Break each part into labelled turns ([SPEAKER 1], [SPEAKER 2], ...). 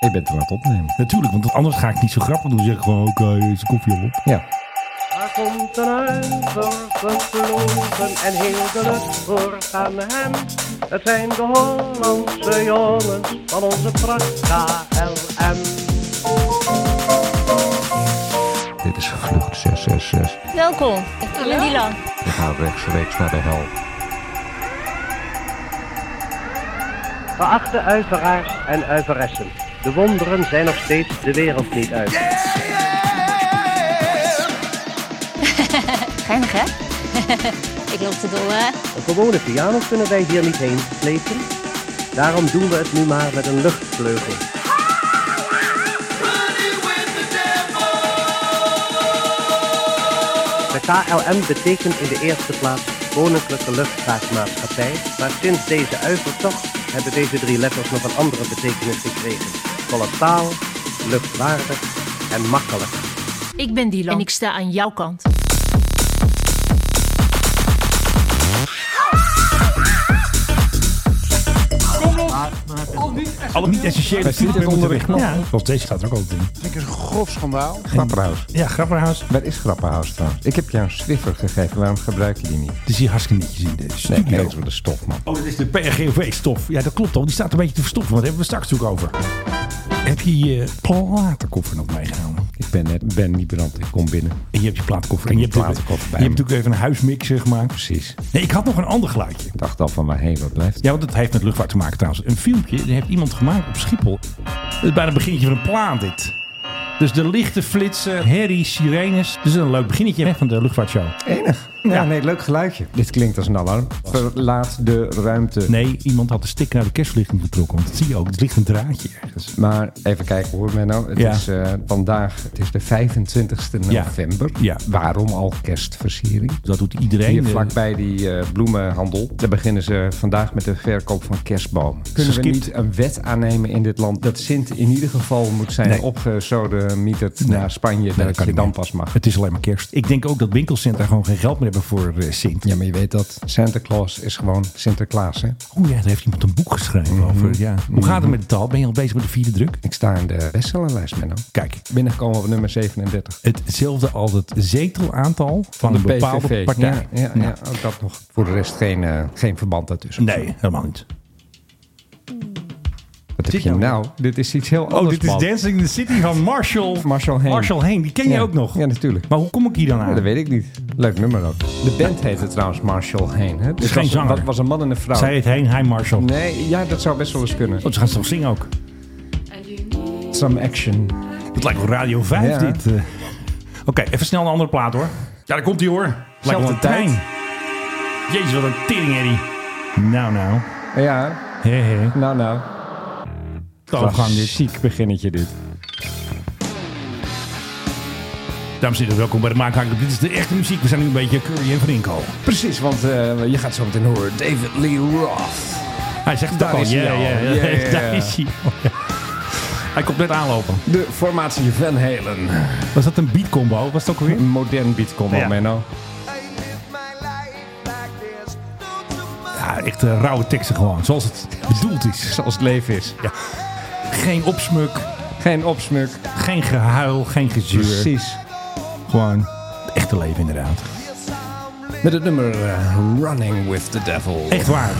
[SPEAKER 1] Je bent er aan het opnemen.
[SPEAKER 2] Natuurlijk, want anders ga ik niet zo grappig doen. Zeg ik gewoon, oké, eh, is de koffie al op?
[SPEAKER 1] Ja.
[SPEAKER 3] Daar komt een uiver gevlogen en heel de lucht hoort aan hem. Het zijn de Hollandse jongens van onze pracht KLM.
[SPEAKER 4] Dit is gevlucht 666.
[SPEAKER 5] Welkom, ik ben Milan.
[SPEAKER 4] We gaan rechtstreeks naar de hel.
[SPEAKER 3] Geachte uiveraars en uiveressen, de wonderen zijn nog steeds de wereld niet uit.
[SPEAKER 5] Geinig hè? ik loop te dol hè?
[SPEAKER 3] Een gewone piano kunnen wij hier niet heen slepen. Daarom doen we het nu maar met een luchtvleugel. De KLM betekent in de eerste plaats Koninklijke Luchtvaartmaatschappij, maar sinds deze uivertocht hebben deze drie letters nog een andere betekenis gekregen. Kolossaal, luchtwaardig en makkelijk.
[SPEAKER 6] Ik ben Dylan en ik sta aan jouw kant.
[SPEAKER 2] Alle niet-essentiële
[SPEAKER 1] Wij zitten
[SPEAKER 2] punten
[SPEAKER 1] onder
[SPEAKER 2] moeten
[SPEAKER 1] de
[SPEAKER 2] weg.
[SPEAKER 1] knop.
[SPEAKER 2] Ja, zoals deze gaat er ook altijd in.
[SPEAKER 7] Het is een grof schandaal.
[SPEAKER 1] Grapperhaus.
[SPEAKER 2] Ja, Grapperhaus.
[SPEAKER 1] Waar is Grapperhaus trouwens? Ik heb jou een swiffer gegeven. Waarom gebruik je die niet?
[SPEAKER 2] Het is hier hartstikke netjes in deze
[SPEAKER 1] Nee,
[SPEAKER 2] studio.
[SPEAKER 1] ergens met de stof, man.
[SPEAKER 2] Oh, dit is de PRGV-stof. Ja, dat klopt al. Die staat een beetje te verstoffen. Want daar hebben we straks ook over. Heb je je platenkoffer nog meegenomen?
[SPEAKER 1] Ik ben, net, ben niet brand. Ik kom binnen.
[SPEAKER 2] En je hebt je platenkoffer.
[SPEAKER 1] Ik
[SPEAKER 2] En je
[SPEAKER 1] heb
[SPEAKER 2] hebt,
[SPEAKER 1] de
[SPEAKER 2] ook-
[SPEAKER 1] platenkoffer
[SPEAKER 2] je
[SPEAKER 1] bij
[SPEAKER 2] hebt
[SPEAKER 1] me.
[SPEAKER 2] natuurlijk even een huismix, zeg maar.
[SPEAKER 1] Precies.
[SPEAKER 2] Nee, ik had nog een ander geluidje.
[SPEAKER 1] Ik dacht al van waarheen, wat blijft?
[SPEAKER 2] Ja, want het heeft met luchtvaart te maken trouwens. Een filmpje, die heeft iemand gemaakt op Schiphol. Het is bijna een beginnetje van een plaat dit. Dus de lichten flitsen, herrie, sirenes. Dus een leuk beginnetje hè, van de luchtvaartshow.
[SPEAKER 1] Enig. Ja, nee, leuk geluidje. Dit klinkt als een alarm. Verlaat de ruimte.
[SPEAKER 2] Nee, iemand had de stick naar de kerstverlichting getrokken. Want dat zie je ook. Het ligt een draadje ergens. Dus
[SPEAKER 1] Maar even kijken hoor, Menno. Het
[SPEAKER 2] Ja.
[SPEAKER 1] is eh, vandaag, het is de 25e
[SPEAKER 2] Ja.
[SPEAKER 1] november.
[SPEAKER 2] Ja.
[SPEAKER 1] Waarom al kerstversiering?
[SPEAKER 2] Dat doet iedereen.
[SPEAKER 1] Hier
[SPEAKER 2] eh,
[SPEAKER 1] vlakbij die eh, bloemenhandel. Daar beginnen ze vandaag met de verkoop van kerstbomen. Kunnen we
[SPEAKER 2] Geskipt.
[SPEAKER 1] niet een wet aannemen in dit land dat Sint in ieder geval moet zijn
[SPEAKER 2] Nee.
[SPEAKER 1] opgesodemieterd naar Spanje?
[SPEAKER 2] Nee,
[SPEAKER 1] dat
[SPEAKER 2] kan
[SPEAKER 1] je
[SPEAKER 2] niet
[SPEAKER 1] dan
[SPEAKER 2] meer.
[SPEAKER 1] pas mag.
[SPEAKER 2] Het is alleen maar kerst. Ik denk ook dat winkelcentra gewoon geen geld meer hebben voor eh, Sint.
[SPEAKER 1] Ja, maar je weet dat Santa Claus is gewoon Sinterklaas. Hè?
[SPEAKER 2] Oh ja, daar heeft iemand een boek geschreven
[SPEAKER 1] Mhm.
[SPEAKER 2] over. Ja. Hoe gaat het met de taal? Ben je al bezig met de vierde druk?
[SPEAKER 1] Ik sta in de bestsellerlijst, Menno.
[SPEAKER 2] Kijk,
[SPEAKER 1] Binnengekomen op nummer 37.
[SPEAKER 2] hetzelfde als het zetelaantal van,
[SPEAKER 1] de
[SPEAKER 2] een bepaalde
[SPEAKER 1] PVV.
[SPEAKER 2] partij.
[SPEAKER 1] Ja, ja, ja, ook dat nog. Voor de rest geen, eh, geen verband daartussen.
[SPEAKER 2] Nee, helemaal niet.
[SPEAKER 1] Wat heb
[SPEAKER 2] dit
[SPEAKER 1] je
[SPEAKER 2] nou?
[SPEAKER 1] nou? Dit is iets heel anders,
[SPEAKER 2] Oh, dit is
[SPEAKER 1] man.
[SPEAKER 2] Dancing in the City van Marshall.
[SPEAKER 1] Marshall Heen.
[SPEAKER 2] Marshall Heen, die ken
[SPEAKER 1] Ja.
[SPEAKER 2] je ook nog.
[SPEAKER 1] Ja, natuurlijk.
[SPEAKER 2] Maar hoe kom ik hier dan
[SPEAKER 1] Ja,
[SPEAKER 2] aan?
[SPEAKER 1] dat weet ik niet. Ah. Leuk nummer ook. De band heette trouwens Marshall Heen. Hè? Dus
[SPEAKER 2] geen
[SPEAKER 1] was,
[SPEAKER 2] zanger.
[SPEAKER 1] Dat was een man en een vrouw.
[SPEAKER 2] Zij heet Heen, hij Marshall.
[SPEAKER 1] Nee, ja, dat zou best wel eens kunnen.
[SPEAKER 2] Oh, ze gaan ze toch zingen ook?
[SPEAKER 1] Some action.
[SPEAKER 2] Het lijkt wel Radio 5
[SPEAKER 1] Ja.
[SPEAKER 2] dit. eh. Oké, even snel een andere plaat hoor. Ja, daar komt hij hoor. Het Lijkt wel
[SPEAKER 1] Zelfde
[SPEAKER 2] een trein. Jezus, wat een tering, Eddie. Nou, nou.
[SPEAKER 1] Ja,
[SPEAKER 2] Hé, hé.
[SPEAKER 1] nou nou.
[SPEAKER 2] De overgang dit.
[SPEAKER 1] Ziek beginnetje dit.
[SPEAKER 2] Dames en heren, welkom bij de Maakhakker. Dit is de echte muziek. We zijn nu een beetje Curry en Frinko.
[SPEAKER 1] Precies, want eh, je gaat zo meteen horen. David Lee Roth.
[SPEAKER 2] Hij zegt het
[SPEAKER 1] Daar
[SPEAKER 2] ook al.
[SPEAKER 1] is hij
[SPEAKER 2] Ja,
[SPEAKER 1] al.
[SPEAKER 2] ja,
[SPEAKER 1] Ja, ja,
[SPEAKER 2] ja.
[SPEAKER 1] ja.
[SPEAKER 2] Daar is hij. al, ja. Hij komt net aanlopen.
[SPEAKER 1] De formatie Van Halen.
[SPEAKER 2] Was dat een beatcombo? Was het ook weer?
[SPEAKER 1] Een modern beatcombo,
[SPEAKER 2] Ja.
[SPEAKER 1] Menno.
[SPEAKER 2] Ja, echt eh, rauwe teksten gewoon. Zoals het bedoeld is.
[SPEAKER 1] Zoals het leven is.
[SPEAKER 2] Geen opsmuk,
[SPEAKER 1] Geen opsmuk.
[SPEAKER 2] geen gehuil, geen gezeur.
[SPEAKER 1] Precies.
[SPEAKER 2] Gewoon het echte leven inderdaad.
[SPEAKER 1] Met het nummer eh, Running With The Devil.
[SPEAKER 2] Echt waar.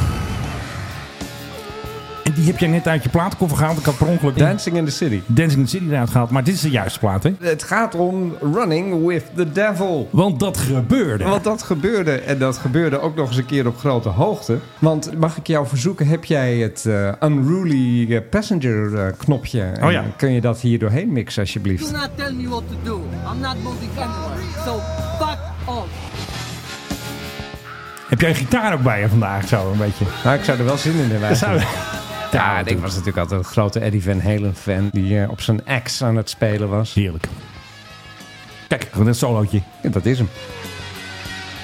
[SPEAKER 2] En die heb jij net uit je plaatkoffer gehaald. Ik had per ongeluk in
[SPEAKER 1] Dancing in the City.
[SPEAKER 2] Dancing in the City eruit gehaald. Maar dit is de juiste plaat, hè?
[SPEAKER 1] Het gaat om Running With The Devil.
[SPEAKER 2] Want dat gebeurde.
[SPEAKER 1] Want dat gebeurde, en dat gebeurde ook nog eens een keer op grote hoogte. Want mag ik jou verzoeken, heb jij het eh, Unruly eh, Passenger eh, knopje? En
[SPEAKER 2] Oh ja.
[SPEAKER 1] Kun je dat hier doorheen mixen alsjeblieft?
[SPEAKER 8] not tell me what to do. I'm not moving anywhere. So fuck off.
[SPEAKER 2] Heb jij een gitaar ook bij je vandaag zo een beetje?
[SPEAKER 1] Nou, ik zou er wel zin in hebben.
[SPEAKER 2] Zou...
[SPEAKER 1] eigenlijk. Ja, en ik was natuurlijk altijd een grote Eddie Van Halen fan die eh, op zijn ex aan het spelen was.
[SPEAKER 2] Heerlijk. Kijk, een solootje.
[SPEAKER 1] Ja, dat is hem.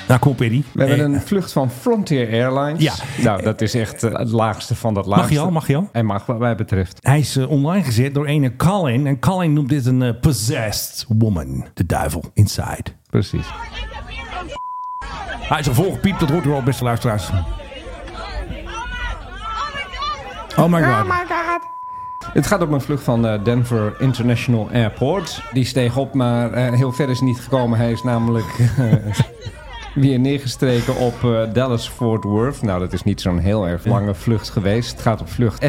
[SPEAKER 2] Nou, kom op, Eddie.
[SPEAKER 1] We hebben
[SPEAKER 2] Eh,
[SPEAKER 1] een vlucht van Frontier Airlines.
[SPEAKER 2] Ja.
[SPEAKER 1] Nou, dat is echt eh, het laagste van dat
[SPEAKER 2] Mag
[SPEAKER 1] laagste.
[SPEAKER 2] je al, mag je al?
[SPEAKER 1] Hij mag wat mij betreft.
[SPEAKER 2] Hij is eh, online gezet door ene Colin. En Colin noemt dit een eh, possessed woman. De duivel inside.
[SPEAKER 1] Precies.
[SPEAKER 2] Hij is al volgepiept, dat hoort u al, beste
[SPEAKER 1] Oh
[SPEAKER 2] luisteraars. Oh my god.
[SPEAKER 1] Het gaat om een vlucht van eh, Denver International Airport. Die steeg op, maar eh, heel ver is niet gekomen. Hij is namelijk eh, weer neergestreken op eh, Dallas Fort Worth. Nou, dat is niet zo'n heel erg lange vlucht geweest. Het gaat op vlucht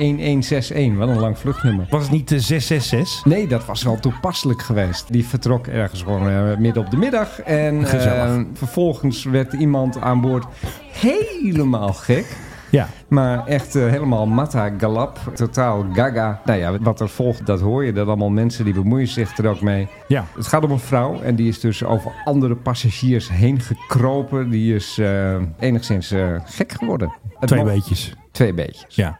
[SPEAKER 1] F91161. Wat een lang vluchtnummer.
[SPEAKER 2] Was het niet eh, de 666?
[SPEAKER 1] Nee, dat was wel toepasselijk geweest. Die vertrok ergens gewoon eh, midden op de middag. En
[SPEAKER 2] Gezellig.
[SPEAKER 1] eh, vervolgens werd iemand aan boord helemaal gek.
[SPEAKER 2] Ja.
[SPEAKER 1] Maar echt eh, helemaal matta galap. Totaal gaga. Nou ja, wat er volgt, dat hoor je. Dat allemaal mensen die bemoeien zich er ook mee.
[SPEAKER 2] Ja.
[SPEAKER 1] Het gaat om een vrouw en die is dus over andere passagiers heen gekropen. Die is eh, enigszins eh, gek geworden. Het
[SPEAKER 2] Twee
[SPEAKER 1] mocht-
[SPEAKER 2] beetjes.
[SPEAKER 1] Twee beetjes.
[SPEAKER 2] Ja.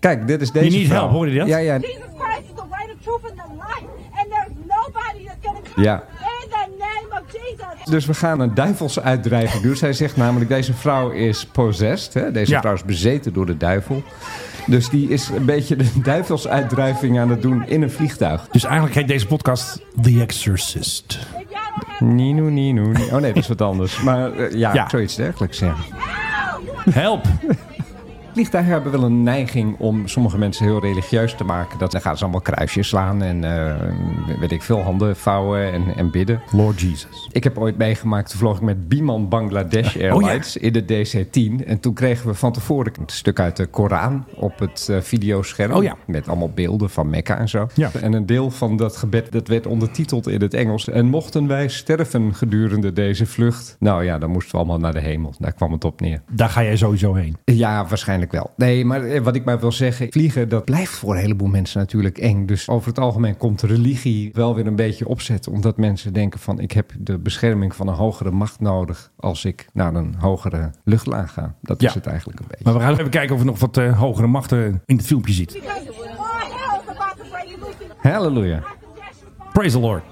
[SPEAKER 1] Kijk, dit is deze
[SPEAKER 2] niet
[SPEAKER 1] vrouw.
[SPEAKER 2] helpt, hoorde je dat?
[SPEAKER 1] Ja, ja.
[SPEAKER 7] Jesus Christ is the way, the truth, and the life. And there's nobody that's going to come
[SPEAKER 1] Ja.
[SPEAKER 7] in the name of Jesus.
[SPEAKER 1] Dus we gaan een duivelse uitdrijving doen. Zij zegt namelijk, deze vrouw is possessed. Hè? Deze
[SPEAKER 2] Ja.
[SPEAKER 1] vrouw is bezeten door de duivel. Dus die is een beetje de duivelse uitdrijving aan het doen in een vliegtuig.
[SPEAKER 2] Dus eigenlijk heet deze podcast The Exorcist.
[SPEAKER 7] If y'all don't have
[SPEAKER 1] Nino, nino, nino. Oh nee, dat is wat anders. Maar eh, ja,
[SPEAKER 2] Ja.
[SPEAKER 1] zoiets dergelijks. Ja.
[SPEAKER 7] oh,
[SPEAKER 2] Help!
[SPEAKER 1] Vliegtuigen hebben wel een neiging om sommige mensen heel religieus te maken. Dat, dan gaan ze allemaal kruisjes slaan en eh, weet ik veel, handen vouwen en, en bidden.
[SPEAKER 2] Lord Jesus.
[SPEAKER 1] Ik heb ooit meegemaakt, toen vloog ik met Biman
[SPEAKER 2] Oh,
[SPEAKER 1] Bangladesh Airlines in de DC-10. En toen kregen we van tevoren een stuk uit de Koran op het eh, videoscherm.
[SPEAKER 2] Oh ja.
[SPEAKER 1] Met allemaal beelden van Mekka en zo.
[SPEAKER 2] Ja.
[SPEAKER 1] En een deel van dat gebed dat werd ondertiteld in het Engels. En mochten wij sterven gedurende deze vlucht? Nou ja, dan moesten we allemaal naar de hemel. Daar kwam het op neer.
[SPEAKER 2] Daar ga jij sowieso heen.
[SPEAKER 1] Ja, waarschijnlijk wel. Nee, maar eh, wat ik maar wil zeggen, vliegen dat blijft voor een heleboel mensen natuurlijk eng. Dus over het algemeen komt religie wel weer een beetje opzet. Omdat mensen denken van ik heb de bescherming van een hogere macht nodig als ik naar een hogere luchtlaag ga. Dat
[SPEAKER 2] Ja.
[SPEAKER 1] is het eigenlijk een beetje.
[SPEAKER 2] Maar we gaan even kijken of we nog wat eh, hogere machten in het filmpje ziet.
[SPEAKER 7] because all hell is about to break loose. in
[SPEAKER 1] Halleluja.
[SPEAKER 7] possession.
[SPEAKER 2] Praise the Lord.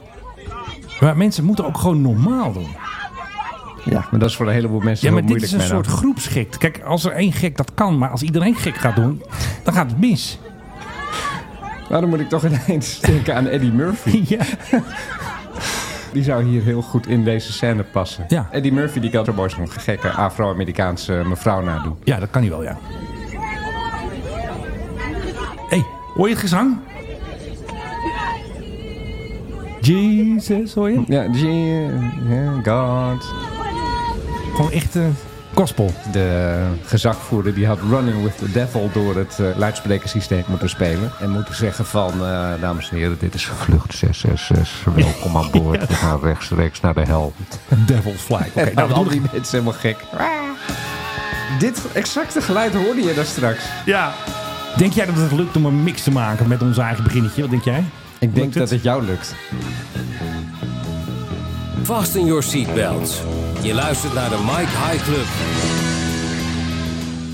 [SPEAKER 2] Maar mensen moeten ook gewoon normaal doen.
[SPEAKER 1] Ja, maar dat is voor een heleboel mensen
[SPEAKER 2] Ja,
[SPEAKER 1] heel
[SPEAKER 2] maar dit is
[SPEAKER 1] moeilijk.
[SPEAKER 2] een
[SPEAKER 1] Menno.
[SPEAKER 2] soort groepsgek. Kijk, als er één gek dat kan, maar als iedereen gek gaat doen, dan gaat het mis.
[SPEAKER 1] Waarom Nou, moet ik toch ineens denken aan Eddie Murphy?
[SPEAKER 2] Ja.
[SPEAKER 1] Die zou hier heel goed in deze scène passen.
[SPEAKER 2] Ja.
[SPEAKER 1] Eddie Murphy die kan zo mooi zo'n gekke Afro-Amerikaanse mevrouw nadoen.
[SPEAKER 2] ja, dat kan hij wel, ja. Hé, hey, hoor je het gezang? Jesus, hoor je?
[SPEAKER 1] Ja, yeah, God.
[SPEAKER 2] Gewoon echt eh gospel.
[SPEAKER 1] De gezagvoerder die had Running with the Devil door het eh, luidsprekersysteem moeten spelen. En moeten zeggen van, eh, dames en heren, dit is...
[SPEAKER 4] Vlucht 666, welkom aan boord. We gaan rechtstreeks naar de hel.
[SPEAKER 2] Devil's Fly. Oké,
[SPEAKER 1] En
[SPEAKER 2] nou, we
[SPEAKER 1] al
[SPEAKER 2] doen het.
[SPEAKER 1] die mensen helemaal gek. Dit exacte geluid hoorde je daar straks.
[SPEAKER 2] Ja. Denk jij dat het lukt om een mix te maken met ons eigen beginnetje? Wat denk jij?
[SPEAKER 1] Ik denk
[SPEAKER 2] Lukt het?
[SPEAKER 1] dat het jou lukt.
[SPEAKER 9] Fasten your seatbelts. Je luistert naar de Mike High Club.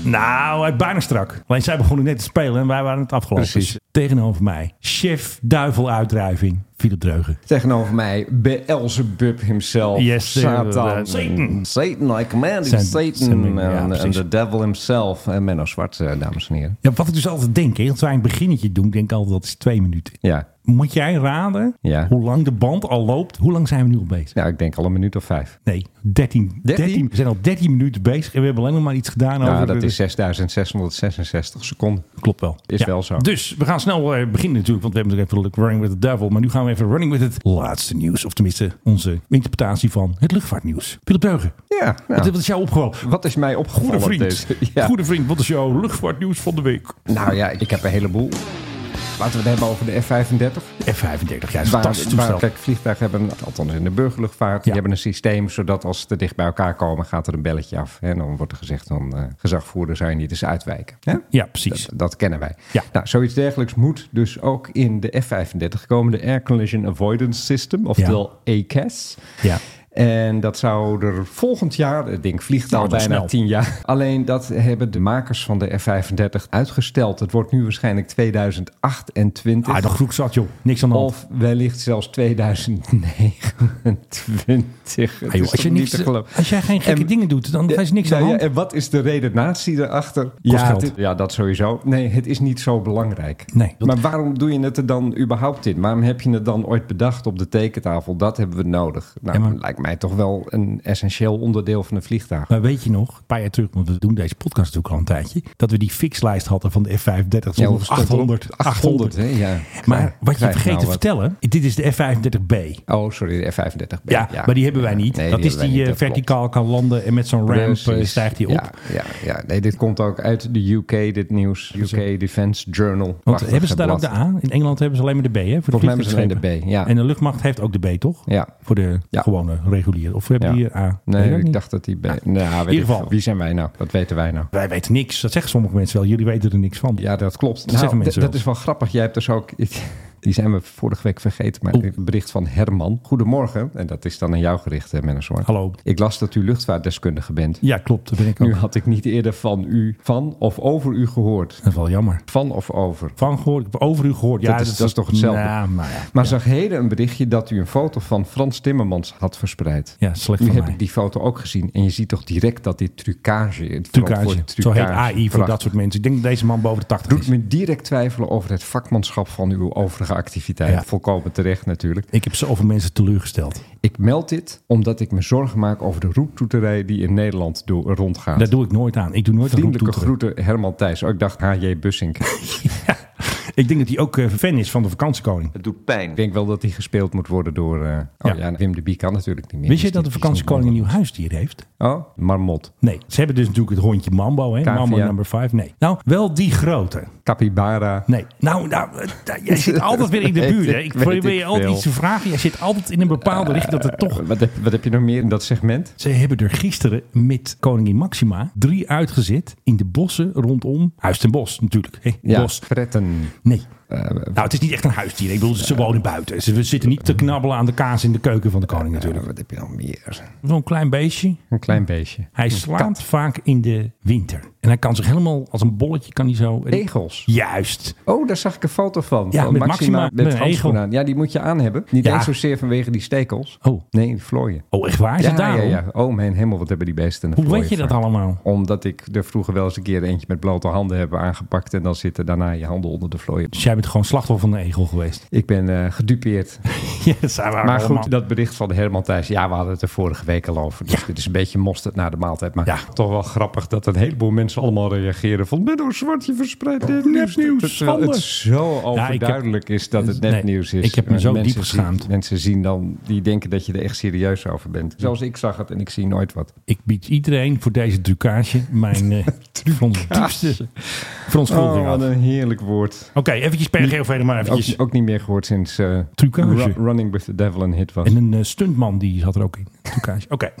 [SPEAKER 2] Nou, hij bijna strak. Alleen zij begonnen net te spelen en wij waren het afgelopen.
[SPEAKER 1] Precies.
[SPEAKER 2] Dus tegenover mij, chef duivel uitdrijving, Philip Dreugen.
[SPEAKER 1] Tegenover mij, Beelzebub himself.
[SPEAKER 2] Yes, sir.
[SPEAKER 1] Satan.
[SPEAKER 2] Satan.
[SPEAKER 1] Satan, I command you,
[SPEAKER 2] Mm. Zijn- zijn-
[SPEAKER 1] Satan.
[SPEAKER 2] ja,
[SPEAKER 1] En en
[SPEAKER 2] precies.
[SPEAKER 1] de devil himself. En Menno Zwart, eh, dames en heren.
[SPEAKER 2] Ja, wat ik dus altijd denk, hè, als wij een beginnetje doen, denk ik altijd dat is twee minuten.
[SPEAKER 1] Ja,
[SPEAKER 2] Moet jij raden
[SPEAKER 1] Ja.
[SPEAKER 2] hoe lang de band al loopt? Hoe lang zijn we nu al bezig?
[SPEAKER 1] nou, ik denk al een minuut of vijf.
[SPEAKER 2] Nee, 13.
[SPEAKER 1] 13?
[SPEAKER 2] We zijn al 13 minuten bezig en we hebben alleen nog maar iets gedaan
[SPEAKER 1] Nou,
[SPEAKER 2] over...
[SPEAKER 1] dat
[SPEAKER 2] de-
[SPEAKER 1] is 6666 seconden.
[SPEAKER 2] Klopt wel.
[SPEAKER 1] Is wel zo.
[SPEAKER 2] Dus we gaan snel eh, beginnen natuurlijk, want we hebben natuurlijk even Running with the Devil. Maar nu gaan we even Running with het laatste nieuws. Of tenminste, onze interpretatie van het luchtvaartnieuws. Philip Deugen,
[SPEAKER 1] Ja, nou,
[SPEAKER 2] wat, wat is jou opgevallen?
[SPEAKER 1] wat is mij opgevallen?
[SPEAKER 2] Goede vriend.
[SPEAKER 1] deze- ja.
[SPEAKER 2] Goede vriend, wat is jouw luchtvaartnieuws van de week?
[SPEAKER 1] Nou ja, ik heb een heleboel. Laten we het hebben over de F-35.
[SPEAKER 2] F-35, ja, is een
[SPEAKER 1] Waar-
[SPEAKER 2] fantastisch
[SPEAKER 1] waar-
[SPEAKER 2] toestel.
[SPEAKER 1] Kijk, vliegtuigen hebben, althans in de burgerluchtvaart,
[SPEAKER 2] Ja.
[SPEAKER 1] die hebben een systeem zodat als ze te dicht bij elkaar komen, gaat er een belletje af. En dan wordt er gezegd, dan eh, gezagvoerder zou je niet eens uitwijken. Hè?
[SPEAKER 2] Ja, precies.
[SPEAKER 1] Dat, dat kennen wij.
[SPEAKER 2] Ja.
[SPEAKER 1] Nou, zoiets dergelijks moet dus ook in de F-35 komen. De Air Collision Avoidance System, oftewel ACAS.
[SPEAKER 2] Ja.
[SPEAKER 1] En dat zou er volgend jaar, het ding vliegt al
[SPEAKER 2] Nou, dat is
[SPEAKER 1] bijna
[SPEAKER 2] snel.
[SPEAKER 1] tien jaar. Alleen dat hebben de makers van de F-35 uitgesteld. Het wordt nu waarschijnlijk 2028.
[SPEAKER 2] Ah, de groep zat, joh. Niks aan de hand.
[SPEAKER 1] Of wellicht zelfs 2029. Het
[SPEAKER 2] Ah, joh,
[SPEAKER 1] is
[SPEAKER 2] als, je
[SPEAKER 1] toch
[SPEAKER 2] niks,
[SPEAKER 1] niet te geloven.
[SPEAKER 2] als jij geen gekke
[SPEAKER 1] En-
[SPEAKER 2] dingen doet, dan is niks aan
[SPEAKER 1] Nou
[SPEAKER 2] de
[SPEAKER 1] ja,
[SPEAKER 2] hand.
[SPEAKER 1] en wat is de redenatie erachter? Ja,
[SPEAKER 2] geld.
[SPEAKER 1] het- ja, dat sowieso. Nee, het is niet zo belangrijk.
[SPEAKER 2] Nee.
[SPEAKER 1] Maar waarom doe je het er dan überhaupt in? Waarom heb je het dan ooit bedacht op de tekentafel? Dat hebben we nodig. Nou,
[SPEAKER 2] Ja, maar-
[SPEAKER 1] lijkt mij toch wel een essentieel onderdeel van een vliegtuig.
[SPEAKER 2] Maar weet je nog, een paar jaar terug, want we doen deze podcast natuurlijk al een tijdje, dat we die fixlijst hadden van de F35
[SPEAKER 1] Ja,
[SPEAKER 2] tot
[SPEAKER 1] stond
[SPEAKER 2] 800.
[SPEAKER 1] 800, hè? Ja.
[SPEAKER 2] Maar wat je
[SPEAKER 1] Krijg
[SPEAKER 2] vergeet
[SPEAKER 1] nou
[SPEAKER 2] te
[SPEAKER 1] wat.
[SPEAKER 2] vertellen, dit is de F35B.
[SPEAKER 1] Oh, sorry, de F35B.
[SPEAKER 2] Ja, maar die hebben wij niet.
[SPEAKER 1] Nee,
[SPEAKER 2] dat is
[SPEAKER 1] hebben wij
[SPEAKER 2] die eh,
[SPEAKER 1] niet, dat klopt.
[SPEAKER 2] verticaal kan landen en met zo'n ramp eh,
[SPEAKER 1] Precies.
[SPEAKER 2] stijgt die op.
[SPEAKER 1] Ja, ja, ja. Nee, dit komt ook uit de UK, dit nieuws. UK Defense Journal.
[SPEAKER 2] Want
[SPEAKER 1] Prachtig
[SPEAKER 2] hebben ze daar ook
[SPEAKER 1] blad.
[SPEAKER 2] de A? In Engeland hebben ze alleen maar de B, hè? Voor de
[SPEAKER 1] Volgens mij hebben ze alleen de
[SPEAKER 2] vliegtuigschepen.
[SPEAKER 1] B, ja.
[SPEAKER 2] En de luchtmacht heeft ook de B, toch?
[SPEAKER 1] Ja.
[SPEAKER 2] Voor de
[SPEAKER 1] Ja.
[SPEAKER 2] gewone, reguliere. Of hebben
[SPEAKER 1] Ja.
[SPEAKER 2] die eh, A? Weet
[SPEAKER 1] Nee,
[SPEAKER 2] ook
[SPEAKER 1] ik
[SPEAKER 2] niet. Ah.
[SPEAKER 1] dacht dat die... B- Nou, weet
[SPEAKER 2] ieder
[SPEAKER 1] ik
[SPEAKER 2] geval.
[SPEAKER 1] veel. Wie zijn wij nou? Dat weten wij nou.
[SPEAKER 2] Wij weten niks. Dat zeggen sommige mensen wel. Jullie weten er niks van.
[SPEAKER 1] Ja, dat klopt.
[SPEAKER 2] zeggen
[SPEAKER 1] Nou,
[SPEAKER 2] mensen
[SPEAKER 1] d-
[SPEAKER 2] wel.
[SPEAKER 1] dat is wel grappig. Jij hebt dus ook... Die zijn we vorige week vergeten,
[SPEAKER 2] Oh.
[SPEAKER 1] maar een bericht van Herman. Goedemorgen. En dat is dan aan jou gericht, eh, Mennershoorn.
[SPEAKER 2] Hallo.
[SPEAKER 1] Ik las dat u luchtvaartdeskundige bent.
[SPEAKER 2] Ja, klopt. Dat ben ik ook.
[SPEAKER 1] Nu had ik niet eerder van u, van of over u gehoord.
[SPEAKER 2] Dat is wel jammer.
[SPEAKER 1] Van of over.
[SPEAKER 2] Van gehoord. Ik heb over u gehoord. Ja,
[SPEAKER 1] Dat is- dat is toch hetzelfde?
[SPEAKER 2] Ja, maar ja.
[SPEAKER 1] Maar zag heden een berichtje dat u een foto van Frans Timmermans had verspreid.
[SPEAKER 2] Ja, slecht
[SPEAKER 1] Nu
[SPEAKER 2] van
[SPEAKER 1] heb
[SPEAKER 2] mij.
[SPEAKER 1] ik die foto ook gezien. En je ziet toch direct dat dit trucage... het woord
[SPEAKER 2] Trucage. Zo heet AI voor
[SPEAKER 1] prachtig.
[SPEAKER 2] dat soort mensen. Ik denk dat deze man boven de 80
[SPEAKER 1] Doet
[SPEAKER 2] is.
[SPEAKER 1] me direct twijfelen over het vakmanschap van uw overige activiteit.
[SPEAKER 2] Ja.
[SPEAKER 1] Volkomen terecht natuurlijk.
[SPEAKER 2] Ik heb zoveel mensen teleurgesteld.
[SPEAKER 1] Ik meld dit omdat ik me zorgen maak over de roeptoeterij die in Nederland door, rondgaat.
[SPEAKER 2] Dat doe ik nooit aan. Ik doe nooit aan
[SPEAKER 1] Vriendelijke
[SPEAKER 2] roeptoeteren.
[SPEAKER 1] groeten Herman Thijs. Oh, ik dacht H.J. Bussink.
[SPEAKER 2] Ik denk dat hij ook eh, fan is van de vakantiekoning.
[SPEAKER 1] ik denk wel dat die gespeeld moet worden door... eh, oh ja.
[SPEAKER 2] Ja.
[SPEAKER 1] Wim de Bie kan natuurlijk niet meer.
[SPEAKER 2] Wist je
[SPEAKER 1] Dus
[SPEAKER 2] dat de
[SPEAKER 1] die-
[SPEAKER 2] vakantiekoning een nieuw huisdier heeft?
[SPEAKER 1] Oh, marmot.
[SPEAKER 2] Nee. Ze hebben dus natuurlijk het hondje Mambo, hè?
[SPEAKER 1] Cavia.
[SPEAKER 2] Mambo number 5. Nee. Nou, wel die grote.
[SPEAKER 1] Capybara.
[SPEAKER 2] Nee. Nou, nou eh, da- jij zit altijd weer in de
[SPEAKER 1] Weet
[SPEAKER 2] buurt. Hè?
[SPEAKER 1] ik-
[SPEAKER 2] Ik
[SPEAKER 1] weet
[SPEAKER 2] probeer
[SPEAKER 1] ik
[SPEAKER 2] je altijd
[SPEAKER 1] veel.
[SPEAKER 2] iets te vragen. Jij zit altijd in een bepaalde richting dat het toch...
[SPEAKER 1] Wat heb, wat heb je nog meer in dat segment?
[SPEAKER 2] Ze hebben er gisteren met koningin Maxima drie uitgezet in de bossen rondom Huis ten Bos natuurlijk. hè? Bos.
[SPEAKER 1] fretten.
[SPEAKER 2] Nee.
[SPEAKER 1] Eh,
[SPEAKER 2] nou, het is niet echt een huisdier. Ik bedoel, ze wonen buiten. Ze we zitten niet te knabbelen aan de kaas in de keuken van de koning natuurlijk.
[SPEAKER 1] Eh, wat heb je nog meer?
[SPEAKER 2] Zo'n klein beestje.
[SPEAKER 1] Een klein beestje.
[SPEAKER 2] Hij slaat vaak in de winter. En hij kan zich helemaal als een bolletje kan hij zo...
[SPEAKER 1] Egels.
[SPEAKER 2] Juist.
[SPEAKER 1] Oh, daar zag ik een foto van.
[SPEAKER 2] Ja,
[SPEAKER 1] van
[SPEAKER 2] met Maxima met
[SPEAKER 1] met
[SPEAKER 2] een
[SPEAKER 1] handschoenen
[SPEAKER 2] egel.
[SPEAKER 1] aan. Ja, die moet je aan hebben. Niet
[SPEAKER 2] Ja.
[SPEAKER 1] eens zozeer vanwege die stekels.
[SPEAKER 2] Oh.
[SPEAKER 1] Nee, die vlooien.
[SPEAKER 2] Oh, echt waar? Is
[SPEAKER 1] ja,
[SPEAKER 2] het daarom?
[SPEAKER 1] ja, ja. Oh, mijn hemel, wat hebben die beesten een
[SPEAKER 2] Hoe
[SPEAKER 1] vlooien
[SPEAKER 2] weet je dat
[SPEAKER 1] vaak.
[SPEAKER 2] allemaal?
[SPEAKER 1] Omdat ik er vroeger wel eens een keer eentje met blote handen heb aangepakt. En dan zitten daarna je handen onder de vlooien.
[SPEAKER 2] Dus jij bent gewoon slachtoffer van de egel geweest.
[SPEAKER 1] Ik ben eh, gedupeerd.
[SPEAKER 2] Ja, dat zijn we
[SPEAKER 1] Maar
[SPEAKER 2] allemaal.
[SPEAKER 1] goed, dat bericht van Herman Thijs. Ja, we hadden het er vorige week al over. Dus dit is een beetje mosterd na de maaltijd. Maar
[SPEAKER 2] Ja.
[SPEAKER 1] toch wel grappig dat een heleboel mensen allemaal reageren. Van Menno Zwart, je verspreidt dit
[SPEAKER 2] Nepnieuws,
[SPEAKER 1] Terwijl het
[SPEAKER 2] schande.
[SPEAKER 1] zo overduidelijk is dat het
[SPEAKER 2] Nee,
[SPEAKER 1] nepnieuws is. Eh,
[SPEAKER 2] ik heb me zo
[SPEAKER 1] Mensen
[SPEAKER 2] diep
[SPEAKER 1] zien-
[SPEAKER 2] geschaamd.
[SPEAKER 1] mensen zien dan, die denken dat je er echt serieus over bent. Zelfs ik zag het en ik zie nooit wat.
[SPEAKER 2] Ik bied iedereen voor deze trucage mijn eh ons diepste verontschuldiging
[SPEAKER 1] Oh, wat
[SPEAKER 2] af.
[SPEAKER 1] een Oh, heerlijk woord.
[SPEAKER 2] Oké, eventjes per geel verder maar
[SPEAKER 1] Ook,
[SPEAKER 2] eventjes.
[SPEAKER 1] ook niet meer gehoord sinds eh,
[SPEAKER 2] Trucage.
[SPEAKER 1] Ru- Running with the Devil een hit was.
[SPEAKER 2] En een eh, stuntman die zat er ook in. Trucage. Oké.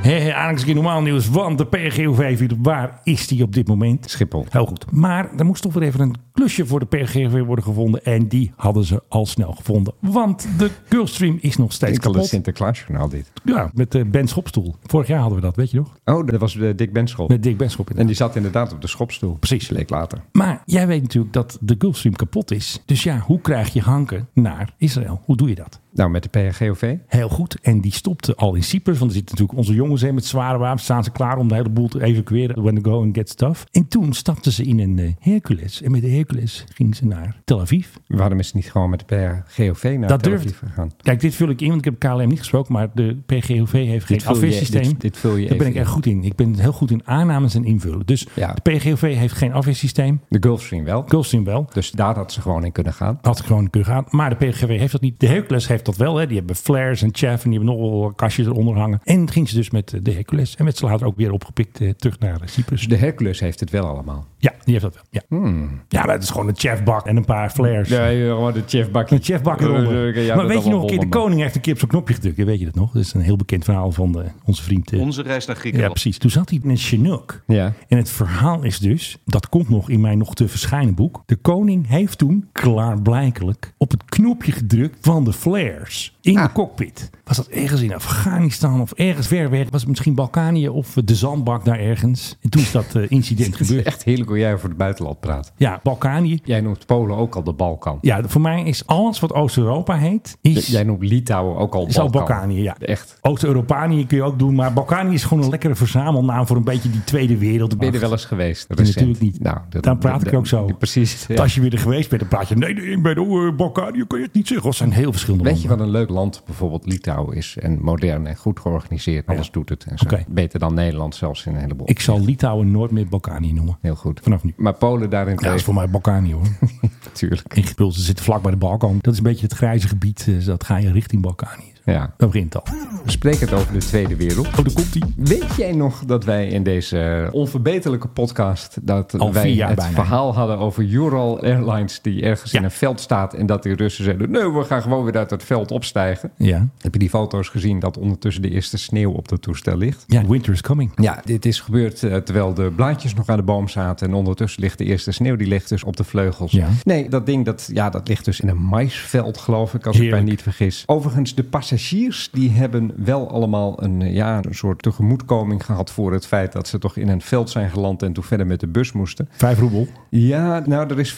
[SPEAKER 2] Hé, hey, Alex, keer normaal nieuws, want de PRGOV, waar is die op dit moment?
[SPEAKER 1] Schiphol.
[SPEAKER 2] Heel goed. Maar er moest toch weer even een klusje voor de PRGOV worden gevonden. En die hadden ze al snel gevonden. Want de Girlstream is nog steeds
[SPEAKER 1] Ik al het
[SPEAKER 2] kapot.
[SPEAKER 1] Sinterklaasjournaal dit.
[SPEAKER 2] Ja, met eh Ben Schopstoel. Vorig jaar hadden we dat, weet je nog?
[SPEAKER 1] Oh, dat was de Dick Benschop.
[SPEAKER 2] Met Dick Ben Schop.
[SPEAKER 1] En
[SPEAKER 2] inderdaad.
[SPEAKER 1] die zat inderdaad op de schopstoel.
[SPEAKER 2] Precies.
[SPEAKER 1] Bleek later.
[SPEAKER 2] Maar jij weet natuurlijk dat de Gulfstream kapot is. Dus ja, hoe krijg je hanken naar Israël? Hoe doe je dat?
[SPEAKER 1] Nou, met de PRGOV.
[SPEAKER 2] Heel goed. En die stopte al in Cyprus. Want er zitten natuurlijk onze jongens in met zware wapens. Staan ze klaar om de hele boel te evacueren. When they go and get stuff. En toen stapten ze in een eh, Hercules. En met de Hercules gingen ze naar Tel Aviv.
[SPEAKER 1] Waarom is het niet gewoon met de PRGOV naar
[SPEAKER 2] Dat
[SPEAKER 1] Tel
[SPEAKER 2] durft-
[SPEAKER 1] Aviv gegaan?
[SPEAKER 2] Kijk, dit vul ik in, want ik heb KLM niet gesproken. Maar de PGOV heeft geen
[SPEAKER 1] vul je-
[SPEAKER 2] afweersysteem.
[SPEAKER 1] dit- dit vul
[SPEAKER 2] Daar
[SPEAKER 1] je
[SPEAKER 2] ben
[SPEAKER 1] even
[SPEAKER 2] ik echt goed in. Ik ben heel goed in aannames en invullen. Dus
[SPEAKER 1] Ja.
[SPEAKER 2] de PGOV heeft geen afweersysteem.
[SPEAKER 1] De Gulfstream wel.
[SPEAKER 2] Gulfstream wel.
[SPEAKER 1] Dus daar had ze gewoon in kunnen gaan.
[SPEAKER 2] Had gewoon kunnen gaan. Maar de PGW heeft dat niet. De Hercules heeft dat wel. Hè. Die hebben flares en chaff en die hebben nog wel kastjes eronder hangen. En ging ze dus met eh, de Hercules. En werd ze later ook weer opgepikt eh, terug naar eh, Cyprus.
[SPEAKER 1] Dus de Hercules heeft het wel allemaal.
[SPEAKER 2] Ja, die heeft dat wel. Ja, ja maar het is gewoon een chaffbak en een paar flares.
[SPEAKER 1] gewoon de chefbakje.
[SPEAKER 2] Een chefbak eronder. maar weet je nog een keer, de koning heeft een keer op zijn knopje gedrukt. hè, Weet je dat nog? Dat is een heel bekend verhaal van eh, onze vriend. eh,
[SPEAKER 10] Onze reis naar
[SPEAKER 2] ja,
[SPEAKER 10] Griekenland.
[SPEAKER 2] precies. Toen zat hij in een Chinook.
[SPEAKER 1] Ja.
[SPEAKER 2] En het verhaal is dus, dat komt nog in mijn nog te verschijnen boek. De koning heeft toen klaarblijkelijk op het knopje gedrukt van de flares in
[SPEAKER 1] Ah.
[SPEAKER 2] de cockpit. Was dat ergens in Afghanistan of ergens ver weg? Was het misschien Balkanië of eh, de zandbak daar ergens? En toen is dat eh, incident
[SPEAKER 1] Het is
[SPEAKER 2] gebeurd.
[SPEAKER 1] echt heerlijk hoe jij over het buitenland praat.
[SPEAKER 2] Ja, Balkanië.
[SPEAKER 1] Jij noemt Polen ook al de Balkan.
[SPEAKER 2] Ja, voor mij is alles wat Oost-Europa heet,
[SPEAKER 1] J-
[SPEAKER 2] is...
[SPEAKER 1] Jij noemt Litouwen ook al
[SPEAKER 2] Is al Balkanië, ja.
[SPEAKER 1] Echt.
[SPEAKER 2] Oost-Europanië kun je ook doen, maar Balkanië is gewoon een lekkere verzamelnaam voor een beetje die Tweede Wereld.
[SPEAKER 1] Ben je er wel eens geweest?
[SPEAKER 2] Ja,
[SPEAKER 1] Recent?
[SPEAKER 2] natuurlijk niet.
[SPEAKER 1] Nou, dat-
[SPEAKER 2] Daarom praat
[SPEAKER 1] dat-
[SPEAKER 2] ik ook zo.
[SPEAKER 1] Precies.
[SPEAKER 2] Want
[SPEAKER 1] ja.
[SPEAKER 2] Als je weer er geweest bent, dan praat je... Nee, nee, ik ben oh, eh, Balkanië, kun je het niet zeggen. Dat zijn heel verschillende
[SPEAKER 1] Weet Weet je wat een leuk land bijvoorbeeld Litouwen is? En modern en goed georganiseerd. Alles doet het. En zo.
[SPEAKER 2] Oké.
[SPEAKER 1] Beter dan Nederland zelfs in een heleboel.
[SPEAKER 2] Ik zal Litouwen nooit meer Balkanië noemen.
[SPEAKER 1] Heel goed.
[SPEAKER 2] Vanaf nu.
[SPEAKER 1] Maar Polen daarin
[SPEAKER 2] Ja, dat is voor mij Balkanië hoor.
[SPEAKER 1] natuurlijk.
[SPEAKER 2] Ingepulst, ze zitten vlak bij de Balkan. Dat is een beetje het grijze gebied. eh, dat ga je richting Balkanië.
[SPEAKER 1] Ja.
[SPEAKER 2] Dat begint al.
[SPEAKER 1] We spreken het over de Tweede Wereld.
[SPEAKER 2] Oh, daar komt hij.
[SPEAKER 1] Weet jij nog dat wij in deze onverbeterlijke podcast dat
[SPEAKER 2] Al
[SPEAKER 1] wij
[SPEAKER 2] vier jaar
[SPEAKER 1] het
[SPEAKER 2] bijna.
[SPEAKER 1] verhaal hadden over Ural Airlines die ergens
[SPEAKER 2] Ja.
[SPEAKER 1] in een veld staat en dat die Russen zeiden: "Nee, we gaan gewoon weer uit het veld opstijgen."
[SPEAKER 2] Ja.
[SPEAKER 1] Heb je die foto's gezien dat ondertussen de eerste sneeuw op dat toestel ligt?
[SPEAKER 2] Ja, winter is coming.
[SPEAKER 1] Ja, dit is gebeurd eh, terwijl de blaadjes nog aan de boom zaten. En ondertussen ligt de eerste sneeuw, die ligt dus op de vleugels.
[SPEAKER 2] Ja.
[SPEAKER 1] Nee, dat ding dat, ja, dat ligt dus in een maisveld, geloof ik, als ik
[SPEAKER 2] Heerlijk.
[SPEAKER 1] mij niet vergis. Overigens, de passagiers die hebben wel allemaal een, eh, ja, een soort tegemoetkoming gehad voor het feit dat ze toch in een veld zijn geland en toen verder met de bus moesten.
[SPEAKER 2] Vijf roebel.
[SPEAKER 1] Ja, nou, er is 15,8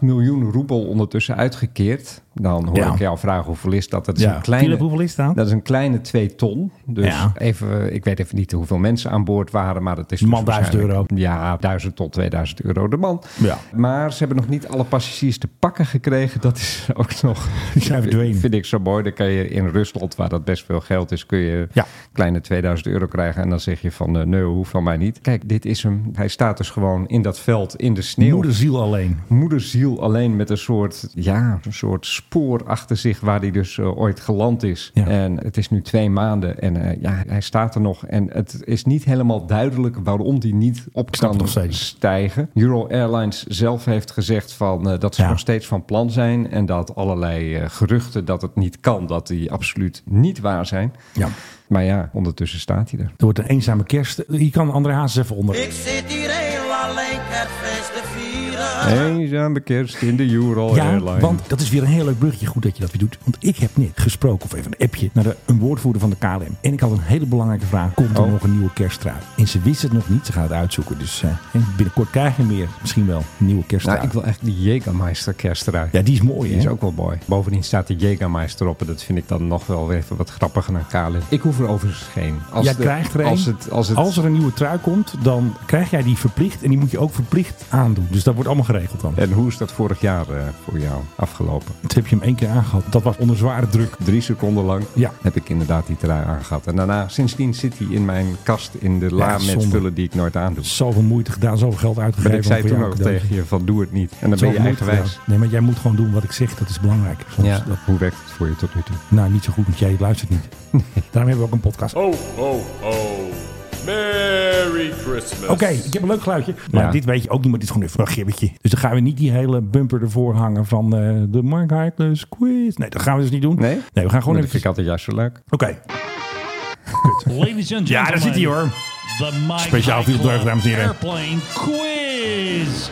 [SPEAKER 1] miljoen roebel ondertussen uitgekeerd. Dan hoor
[SPEAKER 2] Ja.
[SPEAKER 1] ik jou vragen hoeveel is dat? Dat is
[SPEAKER 2] Ja.
[SPEAKER 1] een kleine...
[SPEAKER 2] Philip, hoeveel is dat?
[SPEAKER 1] Dat is een kleine 2 ton. Dus
[SPEAKER 2] Ja.
[SPEAKER 1] even, ik weet even niet hoeveel mensen aan boord waren, maar dat is dus
[SPEAKER 2] Man, 1000
[SPEAKER 1] waarschijnlijk- Ja, 1000 tot 2000 euro de man.
[SPEAKER 2] Ja.
[SPEAKER 1] Maar ze hebben nog niet alle passagiers te pakken gekregen. Dat is ook nog...
[SPEAKER 2] Die zijn verdwenen.
[SPEAKER 1] Vind ik zo mooi. Dan kan je in Rusland, waar dat best veel geld is, kun je
[SPEAKER 2] Ja.
[SPEAKER 1] kleine 2000 euro krijgen. En dan zeg je van, eh, nee, hoeft van mij niet. Kijk, dit is hem. Hij staat dus gewoon in dat veld, in de sneeuw.
[SPEAKER 2] Moederziel alleen.
[SPEAKER 1] Moederziel alleen met een soort, ja, een soort spoor achter zich waar hij dus eh, ooit geland is.
[SPEAKER 2] Ja.
[SPEAKER 1] En het is nu twee maanden en eh, ja, hij staat er nog. En het is niet helemaal duidelijk waarom hij niet op
[SPEAKER 2] snap het
[SPEAKER 1] kan
[SPEAKER 2] nog steeds.
[SPEAKER 1] stijgen. Euro Airlines zelf heeft gezegd van, eh, dat ze
[SPEAKER 2] Ja.
[SPEAKER 1] nog steeds van plan zijn. En dat allerlei eh, geruchten dat het niet kan, dat die absoluut niet waar zijn.
[SPEAKER 2] Ja.
[SPEAKER 1] Maar ja, ondertussen staat hij er.
[SPEAKER 2] Het wordt een eenzame kerst. Hier kan André Haas even onder.
[SPEAKER 1] Eenzame kerst in de Euro
[SPEAKER 2] Ja,
[SPEAKER 1] Airlines.
[SPEAKER 2] want dat is weer een heel leuk bruggetje. Goed dat je dat weer doet. Want ik heb net gesproken, of even een appje, naar de, een woordvoerder van de KLM. En ik had een hele belangrijke vraag. Komt er
[SPEAKER 1] Oh.
[SPEAKER 2] nog een nieuwe kersttrui? En ze wist het nog niet. Ze gaat het uitzoeken. Dus eh, binnenkort krijg je meer. Misschien wel een nieuwe kersttrui.
[SPEAKER 1] Nou, ik wil echt die Jägermeister kerst eruit.
[SPEAKER 2] Ja, die is mooi,
[SPEAKER 1] Die
[SPEAKER 2] hè?
[SPEAKER 1] is ook wel mooi. Bovendien staat de Jägermeister op en dat vind ik dan nog wel even wat grappiger dan Kalen. Ik hoef er overigens geen. Als
[SPEAKER 2] jij
[SPEAKER 1] de-
[SPEAKER 2] krijgt er een.
[SPEAKER 1] Als, het, als, het,
[SPEAKER 2] er een nieuwe trui komt, dan krijg jij die verplicht. En die moet je ook verplicht aandoen. Dus dat wordt allemaal geregeld dan.
[SPEAKER 1] En hoe is dat vorig jaar eh, voor jou afgelopen?
[SPEAKER 2] Toen heb je hem één keer aangehad. Dat was onder zware druk.
[SPEAKER 1] Drie seconden lang
[SPEAKER 2] Ja.
[SPEAKER 1] heb ik inderdaad die trui aangehad. En daarna, sindsdien zit hij in mijn kast in de la met
[SPEAKER 2] zonde.
[SPEAKER 1] vullen die ik nooit aandoe.
[SPEAKER 2] Zoveel moeite gedaan, zoveel geld uitgegeven.
[SPEAKER 1] Maar ik zei
[SPEAKER 2] om voor
[SPEAKER 1] toen
[SPEAKER 2] jou
[SPEAKER 1] ook
[SPEAKER 2] een cadeautje.
[SPEAKER 1] tegen je van doe het niet. En dan ben je
[SPEAKER 2] Zoveel moeite
[SPEAKER 1] eigenwijs.
[SPEAKER 2] gedaan. Nee, maar jij moet gewoon doen wat ik zeg. Dat is belangrijk. Soms
[SPEAKER 1] Ja.
[SPEAKER 2] dat,
[SPEAKER 1] Hoe werkt het voor je tot nu toe?
[SPEAKER 2] nou, niet zo goed, want jij luistert niet. Daarom hebben we ook een podcast. Oké,
[SPEAKER 10] Ho, ho, ho. Merry Christmas.
[SPEAKER 2] ik heb een leuk geluidje. Maar
[SPEAKER 1] Ja.
[SPEAKER 2] dit weet je ook niet, maar dit is gewoon even een gibbetje. Dus dan gaan we niet die hele bumper ervoor hangen van eh, de Mark Heidlers quiz. Nee, dat gaan we dus niet doen.
[SPEAKER 1] Nee?
[SPEAKER 2] Nee, we gaan gewoon
[SPEAKER 1] dat
[SPEAKER 2] even...
[SPEAKER 1] vind ik altijd juist zo leuk.
[SPEAKER 2] Oké.
[SPEAKER 10] Ladies and
[SPEAKER 2] Ja, daar zit hij hoor. Speciaal voor de deugd, dames en heren.
[SPEAKER 10] Airplane quiz.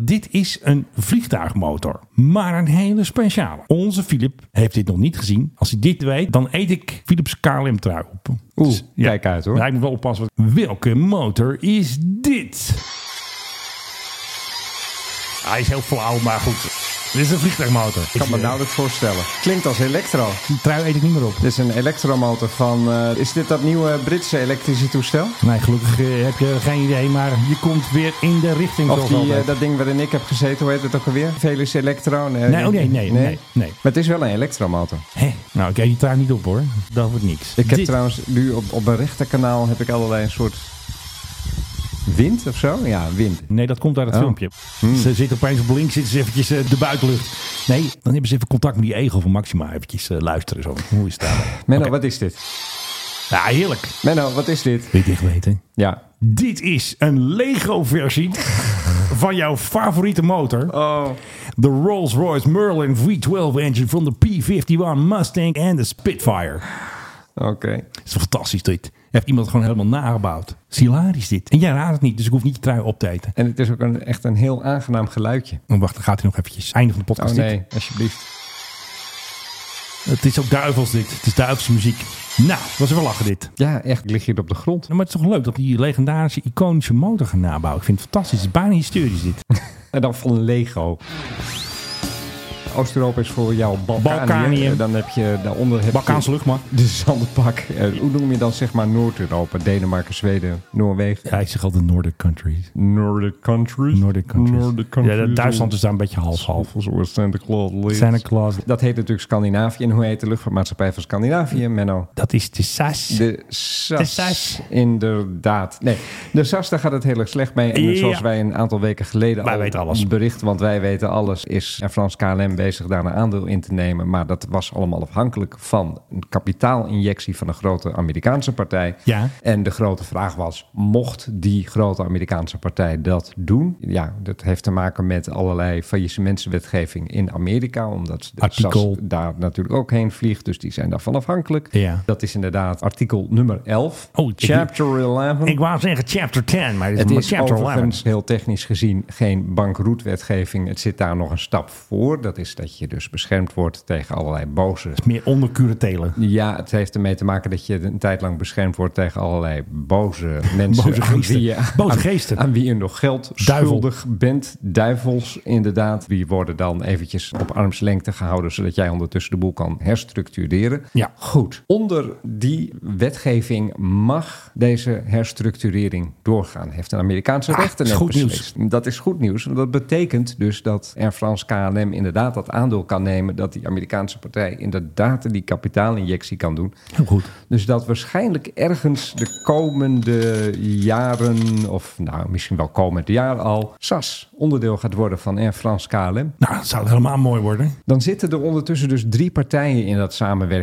[SPEAKER 2] Dit is een vliegtuigmotor, maar een hele speciale. Onze Philip heeft dit nog niet gezien. Als hij dit weet, dan eet ik Philips KLM trui op.
[SPEAKER 1] Oeh,
[SPEAKER 2] Dus, ja.
[SPEAKER 1] kijk uit hoor.
[SPEAKER 2] Ja, ik moet wel oppassen. Welke motor is dit? Hij is heel flauw, maar goed. Dit is een vliegtuigmotor. eh,
[SPEAKER 1] Ik kan nou, me nauwelijks voorstellen. Klinkt als elektro.
[SPEAKER 2] Die trui eet ik niet meer op.
[SPEAKER 1] Dit is een elektromotor van. eh, is dit dat nieuwe Britse elektrische toestel?
[SPEAKER 2] Nee, gelukkig eh, heb je geen idee, maar je komt weer in de richting.
[SPEAKER 1] Of
[SPEAKER 2] zoals
[SPEAKER 1] die,
[SPEAKER 2] altijd.
[SPEAKER 1] eh, dat ding waarin ik heb gezeten, hoe heet het ook alweer? Velis Electro?
[SPEAKER 2] Nee, oh, nee, nee, nee, nee.
[SPEAKER 1] Maar het is wel een elektromotor.
[SPEAKER 2] Hè? Nou, ik eet die trui niet op hoor. Dat wordt niks.
[SPEAKER 1] Ik heb
[SPEAKER 2] Dit-
[SPEAKER 1] trouwens nu op, op mijn rechterkanaal heb ik allerlei een soort wind of zo. Ja, wind.
[SPEAKER 2] Nee, dat komt uit het
[SPEAKER 1] Oh.
[SPEAKER 2] filmpje. Ze zitten opeens op links, zitten ze eventjes eh, de buitenlucht. Nee, dan hebben ze even contact met die egel van Maxima. Eventjes eh, luisteren zo. Hoe is het daar?
[SPEAKER 1] Menno,
[SPEAKER 2] Oké.
[SPEAKER 1] wat is dit?
[SPEAKER 2] Ja, heerlijk.
[SPEAKER 1] Menno, wat is dit?
[SPEAKER 2] Weet je echt weten?
[SPEAKER 1] Ja.
[SPEAKER 2] Dit is een Lego-versie van jouw favoriete motor.
[SPEAKER 1] Oh.
[SPEAKER 2] De Rolls-Royce Merlin V12 engine van de P-51 Mustang en de Spitfire.
[SPEAKER 1] Oké.
[SPEAKER 2] Het is toch fantastisch dit. Heeft iemand gewoon helemaal nagebouwd. Het is hilarisch dit. En jij raadt het niet, dus ik hoef niet je trui op te eten.
[SPEAKER 1] En het is ook een, echt een heel aangenaam geluidje.
[SPEAKER 2] Oh, Wacht, dan gaat hij nog eventjes. Einde van de
[SPEAKER 1] Oh
[SPEAKER 2] podcast. dit.
[SPEAKER 1] nee, alsjeblieft.
[SPEAKER 2] Het is ook duivels dit. Het is duivelse muziek. Nou, was even lachen dit.
[SPEAKER 1] Ja, echt. Ik lig hier op de grond.
[SPEAKER 2] Maar het is toch leuk dat die legendarische, iconische motor gaan nabouwen. Ik vind het fantastisch. Het is bijna historisch dit.
[SPEAKER 1] En dan van Lego. Oost-Europa is voor jou Balkanië. Eh,
[SPEAKER 2] Balkanië.
[SPEAKER 1] Dan heb je daaronder heb
[SPEAKER 2] Balkaanse
[SPEAKER 1] je
[SPEAKER 2] luchtmacht.
[SPEAKER 1] de zandbak. Eh, hoe noem je dan zeg maar Noord-Europa? Denemarken, Zweden, Noorwegen.
[SPEAKER 2] Ja, ik zeg altijd Nordic countries.
[SPEAKER 1] Nordic countries.
[SPEAKER 2] Nordic countries.
[SPEAKER 1] Nordic countries.
[SPEAKER 2] Ja, dat- Duitsland is daar een beetje half-half.
[SPEAKER 1] Volgens mij Santa Claus. leeft.
[SPEAKER 2] Santa Claus.
[SPEAKER 1] Dat heet natuurlijk Scandinavië. En hoe heet de luchtvaartmaatschappij van Scandinavië, Menno?
[SPEAKER 2] Dat is de SAS.
[SPEAKER 1] De SAS.
[SPEAKER 2] De SAS.
[SPEAKER 1] Inderdaad. Nee, de SAS, daar gaat het heel erg slecht mee. En
[SPEAKER 2] Ja.
[SPEAKER 1] zoals wij een aantal weken geleden
[SPEAKER 2] Wij
[SPEAKER 1] al
[SPEAKER 2] weten alles.
[SPEAKER 1] bericht, want wij weten alles, is Air France KLM bezig daar een aandeel in te nemen. Maar dat was allemaal afhankelijk van een kapitaalinjectie van een grote Amerikaanse partij.
[SPEAKER 2] Ja.
[SPEAKER 1] En de grote vraag was, mocht die grote Amerikaanse partij dat doen? Ja, dat heeft te maken met allerlei faillissementswetgeving in Amerika, omdat de
[SPEAKER 2] Artikel.
[SPEAKER 1] SAS daar natuurlijk ook heen vliegt. Dus die zijn daarvan afhankelijk.
[SPEAKER 2] Ja.
[SPEAKER 1] Dat is inderdaad artikel nummer 11.
[SPEAKER 2] Oh, ik-
[SPEAKER 1] chapter 11.
[SPEAKER 2] Ik wou zeggen chapter 10, maar dit
[SPEAKER 1] het
[SPEAKER 2] is maar
[SPEAKER 1] is
[SPEAKER 2] chapter 11.
[SPEAKER 1] overigens heel technisch gezien geen bankroetwetgeving. Het zit daar nog een stap voor. Dat is dat je dus beschermd wordt tegen allerlei boze
[SPEAKER 2] Meer onder curatelen.
[SPEAKER 1] ja, het heeft ermee te maken dat je een tijd lang beschermd wordt tegen allerlei boze mensen.
[SPEAKER 2] Boze
[SPEAKER 1] aan
[SPEAKER 2] geesten.
[SPEAKER 1] wie je-
[SPEAKER 2] Boze
[SPEAKER 1] aan-
[SPEAKER 2] geesten.
[SPEAKER 1] Aan, wie je nog geld
[SPEAKER 2] Duivel.
[SPEAKER 1] schuldig bent. Duivels, inderdaad. Die worden dan eventjes op armslengte gehouden, zodat jij ondertussen de boel kan herstructureren.
[SPEAKER 2] Ja.
[SPEAKER 1] Goed. Onder die wetgeving mag deze herstructurering doorgaan. Heeft een Amerikaanse
[SPEAKER 2] Ah,
[SPEAKER 1] rechter
[SPEAKER 2] is
[SPEAKER 1] net
[SPEAKER 2] goed nieuws.
[SPEAKER 1] beslist. Dat is goed nieuws. want Dat betekent dus dat Air France KLM inderdaad dat aandeel kan nemen. Dat die Amerikaanse partij inderdaad die kapitaalinjectie kan doen.
[SPEAKER 2] Heel goed.
[SPEAKER 1] Dus dat waarschijnlijk ergens de komende jaren, of nou misschien wel komend jaar al, SAS onderdeel gaat worden van Air France KLM.
[SPEAKER 2] Nou, dat zou helemaal mooi worden.
[SPEAKER 1] Dan zitten er ondertussen dus drie partijen in dat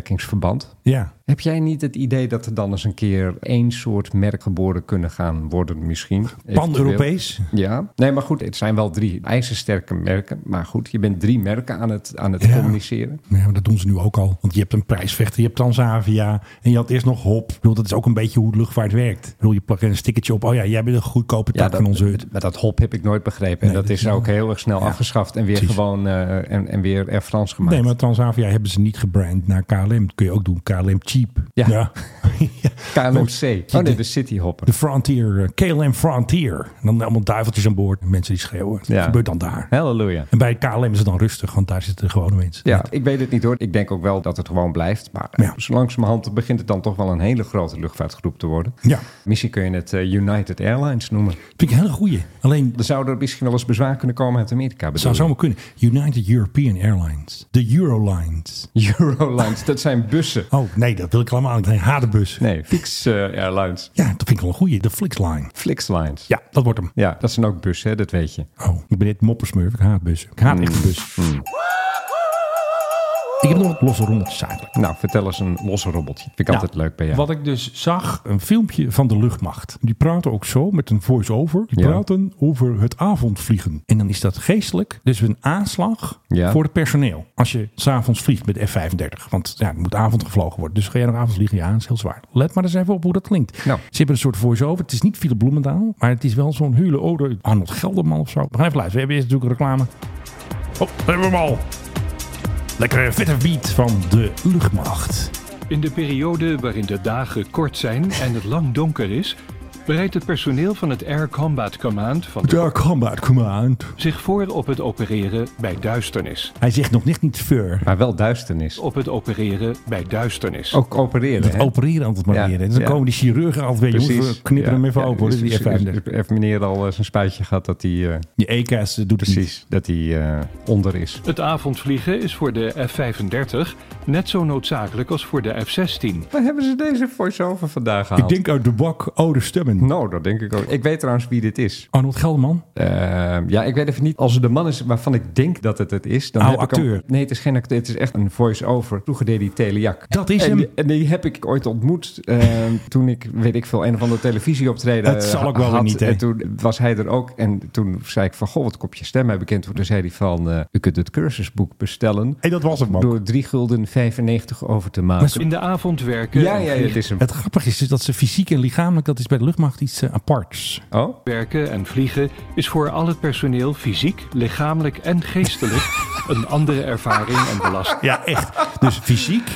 [SPEAKER 1] samenwerkingsverband.
[SPEAKER 2] Ja.
[SPEAKER 1] Heb jij niet het idee dat er dan eens een keer één soort merk geboren kunnen gaan worden misschien? Eventueel.
[SPEAKER 2] Pan-Europees.
[SPEAKER 1] Ja, nee, maar goed, het zijn wel drie ijzersterke merken. Maar goed, je bent drie merken aan het, aan het
[SPEAKER 2] Ja.
[SPEAKER 1] communiceren.
[SPEAKER 2] Nee, maar dat doen ze nu ook al. Want je hebt een prijsvechter, je hebt Transavia. En je had eerst nog HOP. Ik bedoel, dat is ook een beetje hoe de luchtvaart werkt. Ik bedoel, je plakt er een stickertje op. Oh ja, jij bent een goedkope tak van onze hut.
[SPEAKER 1] Maar Nou, dat hop heb ik nooit begrepen. En
[SPEAKER 2] Nee,
[SPEAKER 1] dat
[SPEAKER 2] dat
[SPEAKER 1] is
[SPEAKER 2] is-
[SPEAKER 1] ook heel erg snel
[SPEAKER 2] Ja,
[SPEAKER 1] afgeschaft en weer
[SPEAKER 2] precies.
[SPEAKER 1] gewoon eh, en, en weer Air France gemaakt.
[SPEAKER 2] Nee, maar Transavia hebben ze niet gebrand naar KLM. Dat kun je ook doen. KLM Cheap.
[SPEAKER 1] Ja.
[SPEAKER 2] Ja.
[SPEAKER 1] KLMC. Oh nee, de City Hopper.
[SPEAKER 2] De Frontier. eh, KLM Frontier. En dan allemaal duiveltjes aan boord. Mensen die schreeuwen. Dat
[SPEAKER 1] Ja.
[SPEAKER 2] gebeurt dan daar.
[SPEAKER 1] Halleluja.
[SPEAKER 2] En bij KLM is het dan rustig, want daar zitten gewone mensen.
[SPEAKER 1] Ja, ik weet het niet hoor. Ik denk ook wel dat het gewoon blijft. Maar
[SPEAKER 2] Ja.
[SPEAKER 1] zo langzamerhand begint het dan toch wel een hele grote luchtvaartgroep te worden.
[SPEAKER 2] Ja.
[SPEAKER 1] Misschien kun je het eh, United Airlines noemen.
[SPEAKER 2] Vind ik een hele goeie. Alleen,
[SPEAKER 1] Er zou er misschien wel eens bezwaar kunnen komen uit
[SPEAKER 2] dat
[SPEAKER 1] Amerika. bedoel
[SPEAKER 2] zou
[SPEAKER 1] je?
[SPEAKER 2] zomaar kunnen. United European Airlines. De Eurolines.
[SPEAKER 1] Eurolines, dat zijn bussen.
[SPEAKER 2] Oh, nee, dat wil ik allemaal niet. Nee, Hadenbus.
[SPEAKER 1] Nee, Fix eh, Airlines.
[SPEAKER 2] Ja, dat vind ik wel een goeie. De Flixline.
[SPEAKER 1] Flixlines.
[SPEAKER 2] Ja, dat wordt hem.
[SPEAKER 1] Ja, dat zijn ook bussen, hè, dat weet je.
[SPEAKER 2] Oh, ik ben dit moppersmurf. Ik haat bussen. Ik haat echt bussen. Ik heb nog wat losse rommeltjes eigenlijk.
[SPEAKER 1] Nou, vertel eens een losse robotje. Vind ik altijd
[SPEAKER 2] Nou,
[SPEAKER 1] leuk bij jou.
[SPEAKER 2] Wat ik dus zag, een filmpje van de luchtmacht. Die praten ook zo met een voice-over. Die
[SPEAKER 1] Ja.
[SPEAKER 2] praten over het avondvliegen. En dan is dat geestelijk. Dus een aanslag
[SPEAKER 1] Ja.
[SPEAKER 2] voor het personeel. Als je s'avonds vliegt met F-35. Want ja, het moet avond gevlogen worden. Dus ga jij nog avonds vliegen? Ja, dat is heel zwaar. Let maar eens even op hoe dat klinkt.
[SPEAKER 1] Nou.
[SPEAKER 2] Ze hebben een soort voice-over. Het is niet Philip Bloemendaal. Maar het is wel zo'n hule ode. Arnold Gelderman of zo. We gaan even luisteren. We hebben eerst natuurlijk reclame. Oh, daar hebben we hem al. Lekkere vette beat van de luchtmacht.
[SPEAKER 11] In de periode waarin de dagen kort zijn en het lang donker is, bereidt het personeel van het Air Combat Command van
[SPEAKER 2] Daar combat command.
[SPEAKER 11] zich voor op het opereren bij duisternis.
[SPEAKER 2] Hij zegt nog niet niet fur.
[SPEAKER 1] Maar wel duisternis.
[SPEAKER 11] Op het opereren bij duisternis.
[SPEAKER 1] Ook opereren, hè?
[SPEAKER 2] Opereren altijd maar
[SPEAKER 1] Ja,
[SPEAKER 2] weer. En dan
[SPEAKER 1] ja.
[SPEAKER 2] komen die chirurgen altijd weer. Jongens, we knippen hem even open. hoor.
[SPEAKER 1] Dus
[SPEAKER 2] Dit is die F35.
[SPEAKER 1] Heeft meneer al eh, zijn spuitje gehad dat hij... eh,
[SPEAKER 2] Die E EKS doet het niet.
[SPEAKER 1] precies, dat hij eh, onder is.
[SPEAKER 11] Het avondvliegen is voor de F-35 net zo noodzakelijk als voor de F-16.
[SPEAKER 1] Waar hebben ze deze voice-over vandaag
[SPEAKER 2] Ik
[SPEAKER 1] gehaald?
[SPEAKER 2] denk uit de bak oude stemmen.
[SPEAKER 1] Nou, dat denk ik ook. Ik weet trouwens wie dit is.
[SPEAKER 2] Arnold Gelderman.
[SPEAKER 1] Ehm, ja, ik weet even niet. Als het de man is waarvan ik denk dat het het is... dan
[SPEAKER 2] Oude
[SPEAKER 1] heb ik hem-
[SPEAKER 2] acteur.
[SPEAKER 1] Nee, het is geen acteur. Het is echt een voice-over. Toegedeerd die Teliak.
[SPEAKER 2] Dat is
[SPEAKER 1] en,
[SPEAKER 2] hem.
[SPEAKER 1] die- En die heb ik ooit ontmoet ehm, toen ik, weet ik veel, een of andere televisieoptreden
[SPEAKER 2] Het
[SPEAKER 1] eh,
[SPEAKER 2] zal ook wel weer
[SPEAKER 1] had.
[SPEAKER 2] niet, hè?
[SPEAKER 1] En toen was hij er ook. En toen zei ik van, goh, wat kopje stem heb ik. En toen zei hij van, eh, u kunt het cursusboek bestellen...
[SPEAKER 2] En dat was hem ook.
[SPEAKER 1] door 3 gulden 95 over te maken.
[SPEAKER 2] Maar ze-
[SPEAKER 11] In de avond werken,
[SPEAKER 1] Ja, ja, ja, het is een...
[SPEAKER 2] Het grappige is dus dat ze fysiek en lichamelijk, dat is bij de luchtmacht iets eh, aparts.
[SPEAKER 1] Oh?
[SPEAKER 11] werken en vliegen is voor al het personeel fysiek, lichamelijk en geestelijk een andere ervaring en belasting.
[SPEAKER 2] Ja, echt. Dus fysiek,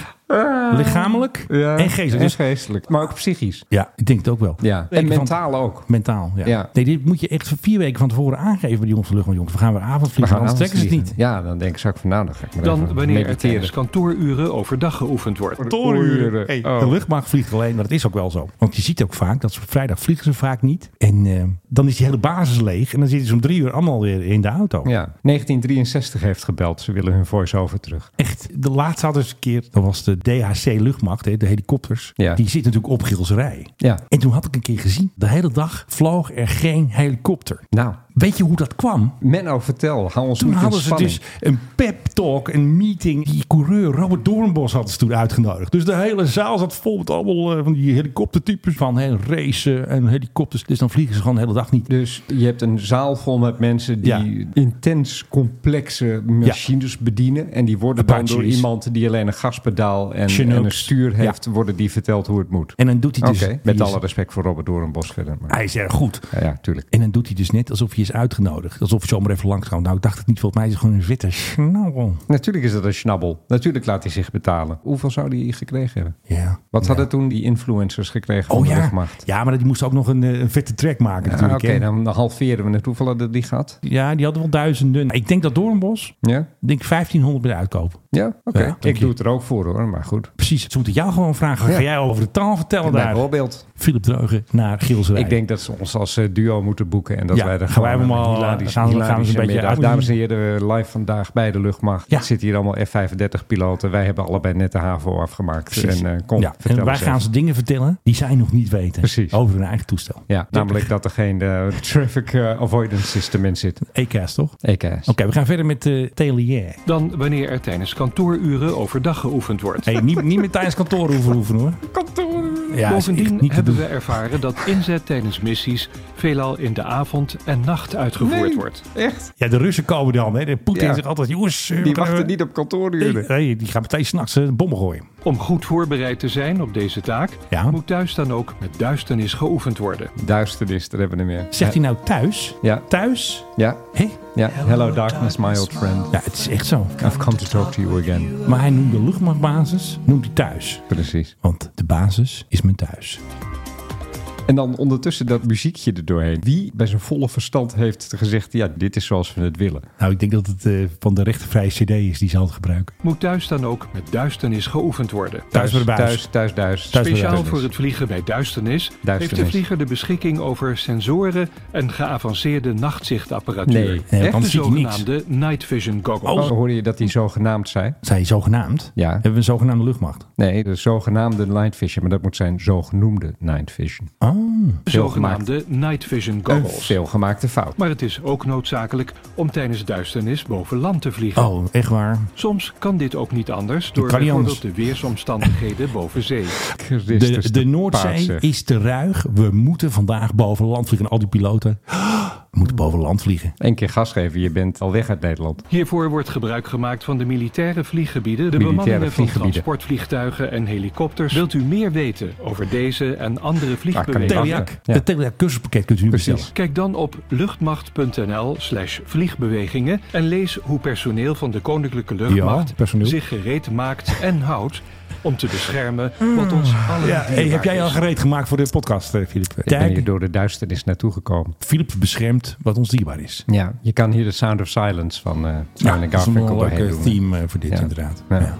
[SPEAKER 2] Lichamelijk
[SPEAKER 1] Ah. Ja,
[SPEAKER 2] en geestelijk. Dus-
[SPEAKER 1] en geestelijk. Maar ook psychisch.
[SPEAKER 2] ja, ik denk het ook wel.
[SPEAKER 1] Ja. En
[SPEAKER 2] Weken van-
[SPEAKER 1] mentaal ook.
[SPEAKER 2] Mentaal, ja.
[SPEAKER 1] Ja.
[SPEAKER 2] Nee, dit moet je echt vier weken van tevoren aangeven bij die jongens van de luchtmacht. Jongens, we gaan weer
[SPEAKER 1] We
[SPEAKER 2] avondvliegen,
[SPEAKER 1] gaan
[SPEAKER 2] anders trekken ze het niet.
[SPEAKER 1] avondvliegen. Ja, dan denk ik, zak van nou, dan ga ik maar
[SPEAKER 11] Dan
[SPEAKER 1] even
[SPEAKER 11] wanneer er
[SPEAKER 1] mediteren.
[SPEAKER 11] tijdens kantooruren overdag geoefend wordt.
[SPEAKER 1] Kantooruren.
[SPEAKER 2] Hey,
[SPEAKER 1] Oh.
[SPEAKER 2] De luchtmacht vliegt alleen, maar dat is ook wel zo. Want je ziet ook vaak, dat ze op vrijdag vliegen ze vaak niet. En eh, dan is die hele basis leeg. En dan zitten ze om drie uur allemaal weer in de auto.
[SPEAKER 1] Ja, 1963 heeft gebeld. Ze willen hun voice-over terug.
[SPEAKER 2] Echt, de laatste had eens een keer, dat was de DHC luchtmacht, hè, de helikopters.
[SPEAKER 1] Ja.
[SPEAKER 2] Die zit natuurlijk op Gilserij.
[SPEAKER 1] Ja.
[SPEAKER 2] En toen had ik een keer gezien, de hele dag vloog er geen helikopter.
[SPEAKER 1] Nou,
[SPEAKER 2] Weet je hoe dat kwam?
[SPEAKER 1] Menno, vertel. Hou ons
[SPEAKER 2] Toen
[SPEAKER 1] niet in
[SPEAKER 2] hadden ze
[SPEAKER 1] spanning.
[SPEAKER 2] dus een pep talk, een meeting. Die coureur Robert Doornbos hadden ze toen uitgenodigd. Dus de hele zaal zat vol met allemaal eh, van die helikoptertypes van hè, racen en helikopters. Dus dan vliegen ze gewoon de hele dag niet.
[SPEAKER 1] Dus je hebt een zaal vol met mensen die intens complexe machines bedienen. En die worden dan
[SPEAKER 2] Apaches.
[SPEAKER 1] door iemand die alleen een gaspedaal en, en
[SPEAKER 2] Chinooks.
[SPEAKER 1] een stuur heeft, worden die verteld hoe het moet.
[SPEAKER 2] En dan doet hij dus...
[SPEAKER 1] Oké, Ah.
[SPEAKER 2] die
[SPEAKER 1] met
[SPEAKER 2] is-
[SPEAKER 1] alle respect voor Robert Doornbos verder. Maar,
[SPEAKER 2] Hij is erg goed.
[SPEAKER 1] ja, ja, tuurlijk.
[SPEAKER 2] En dan doet hij dus net alsof hij is uitgenodigd. Alsof hij zomaar even langs kan. Nou, ik dacht het niet. Volgens mij is het gewoon een witte snabbel.
[SPEAKER 1] Natuurlijk is dat een schnabbel. Natuurlijk laat hij zich betalen. Hoeveel zou hij gekregen hebben?
[SPEAKER 2] Ja.
[SPEAKER 1] Wat hadden toen die influencers gekregen van
[SPEAKER 2] Oh
[SPEAKER 1] de
[SPEAKER 2] ja.
[SPEAKER 1] luchtmacht?
[SPEAKER 2] Ja, maar die moest ook nog een, eh, een vette track maken
[SPEAKER 1] Ah, Oké,
[SPEAKER 2] natuurlijk. hè.
[SPEAKER 1] dan halveren we het. Hoeveel hadden die gehad?
[SPEAKER 2] Ja, die hadden wel duizenden. Ik denk dat Doornbos,
[SPEAKER 1] Ja?
[SPEAKER 2] ik denk 1500 bij de uitkoop.
[SPEAKER 1] Ja? Oké.
[SPEAKER 2] Ja, dank
[SPEAKER 1] ik
[SPEAKER 2] je.
[SPEAKER 1] doe het er ook voor hoor, maar goed.
[SPEAKER 2] Precies, ze moeten jou gewoon vragen. Ga
[SPEAKER 1] Ja.
[SPEAKER 2] jij over de taal vertellen daar?
[SPEAKER 1] Bijvoorbeeld.
[SPEAKER 2] Philip Dreugen naar Gilserij.
[SPEAKER 1] Ik denk dat ze ons als eh, duo moeten boeken. En dat
[SPEAKER 2] Ja,
[SPEAKER 1] wij er
[SPEAKER 2] gaan wij
[SPEAKER 1] gewoon
[SPEAKER 2] allemaal,
[SPEAKER 1] een hilarische-
[SPEAKER 2] gaan we- gaan we eens een
[SPEAKER 1] hilarische
[SPEAKER 2] beetje
[SPEAKER 1] middag.
[SPEAKER 2] uit-
[SPEAKER 1] Dames en heren, eh, live vandaag bij de luchtmacht.
[SPEAKER 2] Ja.
[SPEAKER 1] Er zitten hier allemaal F-35-piloten. Wij hebben allebei net de HAVO afgemaakt.
[SPEAKER 2] Precies.
[SPEAKER 1] En eh, kom,
[SPEAKER 2] ja.
[SPEAKER 1] vertel
[SPEAKER 2] en wij
[SPEAKER 1] eens
[SPEAKER 2] gaan
[SPEAKER 1] even.
[SPEAKER 2] ze dingen vertellen die zij nog niet weten.
[SPEAKER 1] Precies.
[SPEAKER 2] Over hun eigen toestel.
[SPEAKER 1] Ja, namelijk dat er geen eh, traffic eh, avoidance system in zit.
[SPEAKER 2] EKS E toch? Oké,
[SPEAKER 1] EKS.
[SPEAKER 2] we gaan verder met eh Telier.
[SPEAKER 11] Dan wanneer er tijdens kantooruren overdag geoefend wordt.
[SPEAKER 2] Hey, niet, niet meer tijdens kantoor hoeven hoeven hoor. Kantoor. Ja, is echt
[SPEAKER 11] Bovendien
[SPEAKER 2] niet te
[SPEAKER 11] hebben
[SPEAKER 2] doen.
[SPEAKER 11] we ervaren dat inzet tijdens missies veelal in de avond en nacht uitgevoerd wordt.
[SPEAKER 1] Echt?
[SPEAKER 2] Ja, de Russen komen dan. Hè. De Poetin
[SPEAKER 1] Ja.
[SPEAKER 2] zegt altijd, jongens. eh, we
[SPEAKER 1] Die
[SPEAKER 2] gaan-
[SPEAKER 1] wachten niet op
[SPEAKER 2] Nee,
[SPEAKER 1] kantooruren.
[SPEAKER 2] nee, die gaan meteen s'nachts een bommen gooien.
[SPEAKER 11] Om goed voorbereid te zijn op deze taak,
[SPEAKER 2] Ja.
[SPEAKER 11] moet thuis dan ook met duisternis geoefend worden.
[SPEAKER 1] Duisternis, daar hebben we er meer.
[SPEAKER 2] Zegt hij nou thuis?
[SPEAKER 1] Ja,
[SPEAKER 2] Thuis?
[SPEAKER 1] ja,
[SPEAKER 2] Hé?
[SPEAKER 1] ja. Hello darkness, my old friend.
[SPEAKER 2] Ja, het is echt zo.
[SPEAKER 1] I've come to talk to you again.
[SPEAKER 2] Maar hij noemt de luchtmachtbasis, noemt hij thuis.
[SPEAKER 1] Precies.
[SPEAKER 2] Want de basis is mijn thuis.
[SPEAKER 1] En dan ondertussen dat muziekje erdoorheen. Wie bij zijn volle verstand heeft gezegd, ja, dit is zoals we het willen.
[SPEAKER 2] Nou, ik denk dat het eh, van de rechtenvrije cd is die ze altijd gebruiken.
[SPEAKER 11] Moet thuis dan ook met duisternis geoefend worden.
[SPEAKER 2] Thuis bij de buis.
[SPEAKER 1] Thuis, thuis, thuis.
[SPEAKER 2] Thuis bij de
[SPEAKER 11] Speciaal
[SPEAKER 2] Duisternis.
[SPEAKER 11] voor het vliegen bij duisternis, heeft
[SPEAKER 1] Duisternis.
[SPEAKER 11] de vlieger de beschikking over sensoren en geavanceerde nachtzichtapparatuur.
[SPEAKER 1] Nee,
[SPEAKER 2] Nee, want
[SPEAKER 11] de
[SPEAKER 2] anders zie je niks.
[SPEAKER 11] zogenaamde night vision goggles.
[SPEAKER 1] Oh, hoorde je dat die zogenaamd zei?
[SPEAKER 2] Zij zogenaamd?
[SPEAKER 1] Ja.
[SPEAKER 2] Hebben we een zogenaamde luchtmacht?
[SPEAKER 1] Nee, de zogenaamde night vision. Maar dat moet zijn zogenoemde night vision.
[SPEAKER 2] Oh.
[SPEAKER 11] zogenaamde night vision
[SPEAKER 1] Een
[SPEAKER 11] goggles.
[SPEAKER 1] veelgemaakte fout.
[SPEAKER 11] Maar het is ook noodzakelijk om tijdens duisternis boven land te vliegen.
[SPEAKER 2] Oh, echt waar?
[SPEAKER 11] Soms kan dit ook niet anders door
[SPEAKER 2] kan niet
[SPEAKER 11] bijvoorbeeld
[SPEAKER 2] anders.
[SPEAKER 11] de weersomstandigheden boven zee.
[SPEAKER 1] Christus
[SPEAKER 2] De, de
[SPEAKER 1] paard,
[SPEAKER 2] Noordzee
[SPEAKER 1] zeg.
[SPEAKER 2] is te ruig. We moeten vandaag boven land vliegen. En al die piloten we moeten boven land vliegen.
[SPEAKER 1] Eén keer gas geven, je bent al weg uit Nederland.
[SPEAKER 11] Hiervoor wordt gebruik gemaakt van de militaire vlieggebieden, de
[SPEAKER 1] Militaire
[SPEAKER 11] bemanningen van
[SPEAKER 1] vlieggebieden.
[SPEAKER 11] transportvliegtuigen en helikopters. Wilt u meer weten over deze en andere
[SPEAKER 1] niet
[SPEAKER 11] vliegbewegingen?
[SPEAKER 2] Teliac,
[SPEAKER 1] Ja.
[SPEAKER 2] het Teliac cursuspakket kunt u nu
[SPEAKER 1] Precies.
[SPEAKER 2] bestellen.
[SPEAKER 11] Kijk dan op luchtmacht.nl slash vliegbewegingen en lees hoe personeel van de Koninklijke
[SPEAKER 2] Ja,
[SPEAKER 11] Luchtmacht
[SPEAKER 2] personeel.
[SPEAKER 11] zich gereed maakt en houdt om te beschermen wat ons allen
[SPEAKER 2] Hmm. Ja, hey,
[SPEAKER 11] dierbaar
[SPEAKER 2] heb jij al
[SPEAKER 11] is.
[SPEAKER 2] gereed gemaakt voor de podcast, eh, Filip?
[SPEAKER 1] Ik ben hier
[SPEAKER 2] Kijk,
[SPEAKER 1] door de duisternis naartoe gekomen.
[SPEAKER 2] Filip beschermt wat ons dierbaar is.
[SPEAKER 1] Ja, je kan hier de Sound of Silence van eh
[SPEAKER 2] Ja, dat
[SPEAKER 1] Simon
[SPEAKER 2] is een
[SPEAKER 1] Garfunkel
[SPEAKER 2] wel
[SPEAKER 1] doorheen
[SPEAKER 2] leuk
[SPEAKER 1] doen.
[SPEAKER 2] eh, theme eh, voor dit
[SPEAKER 1] Ja.
[SPEAKER 2] inderdaad.
[SPEAKER 1] Ja.
[SPEAKER 2] Ja.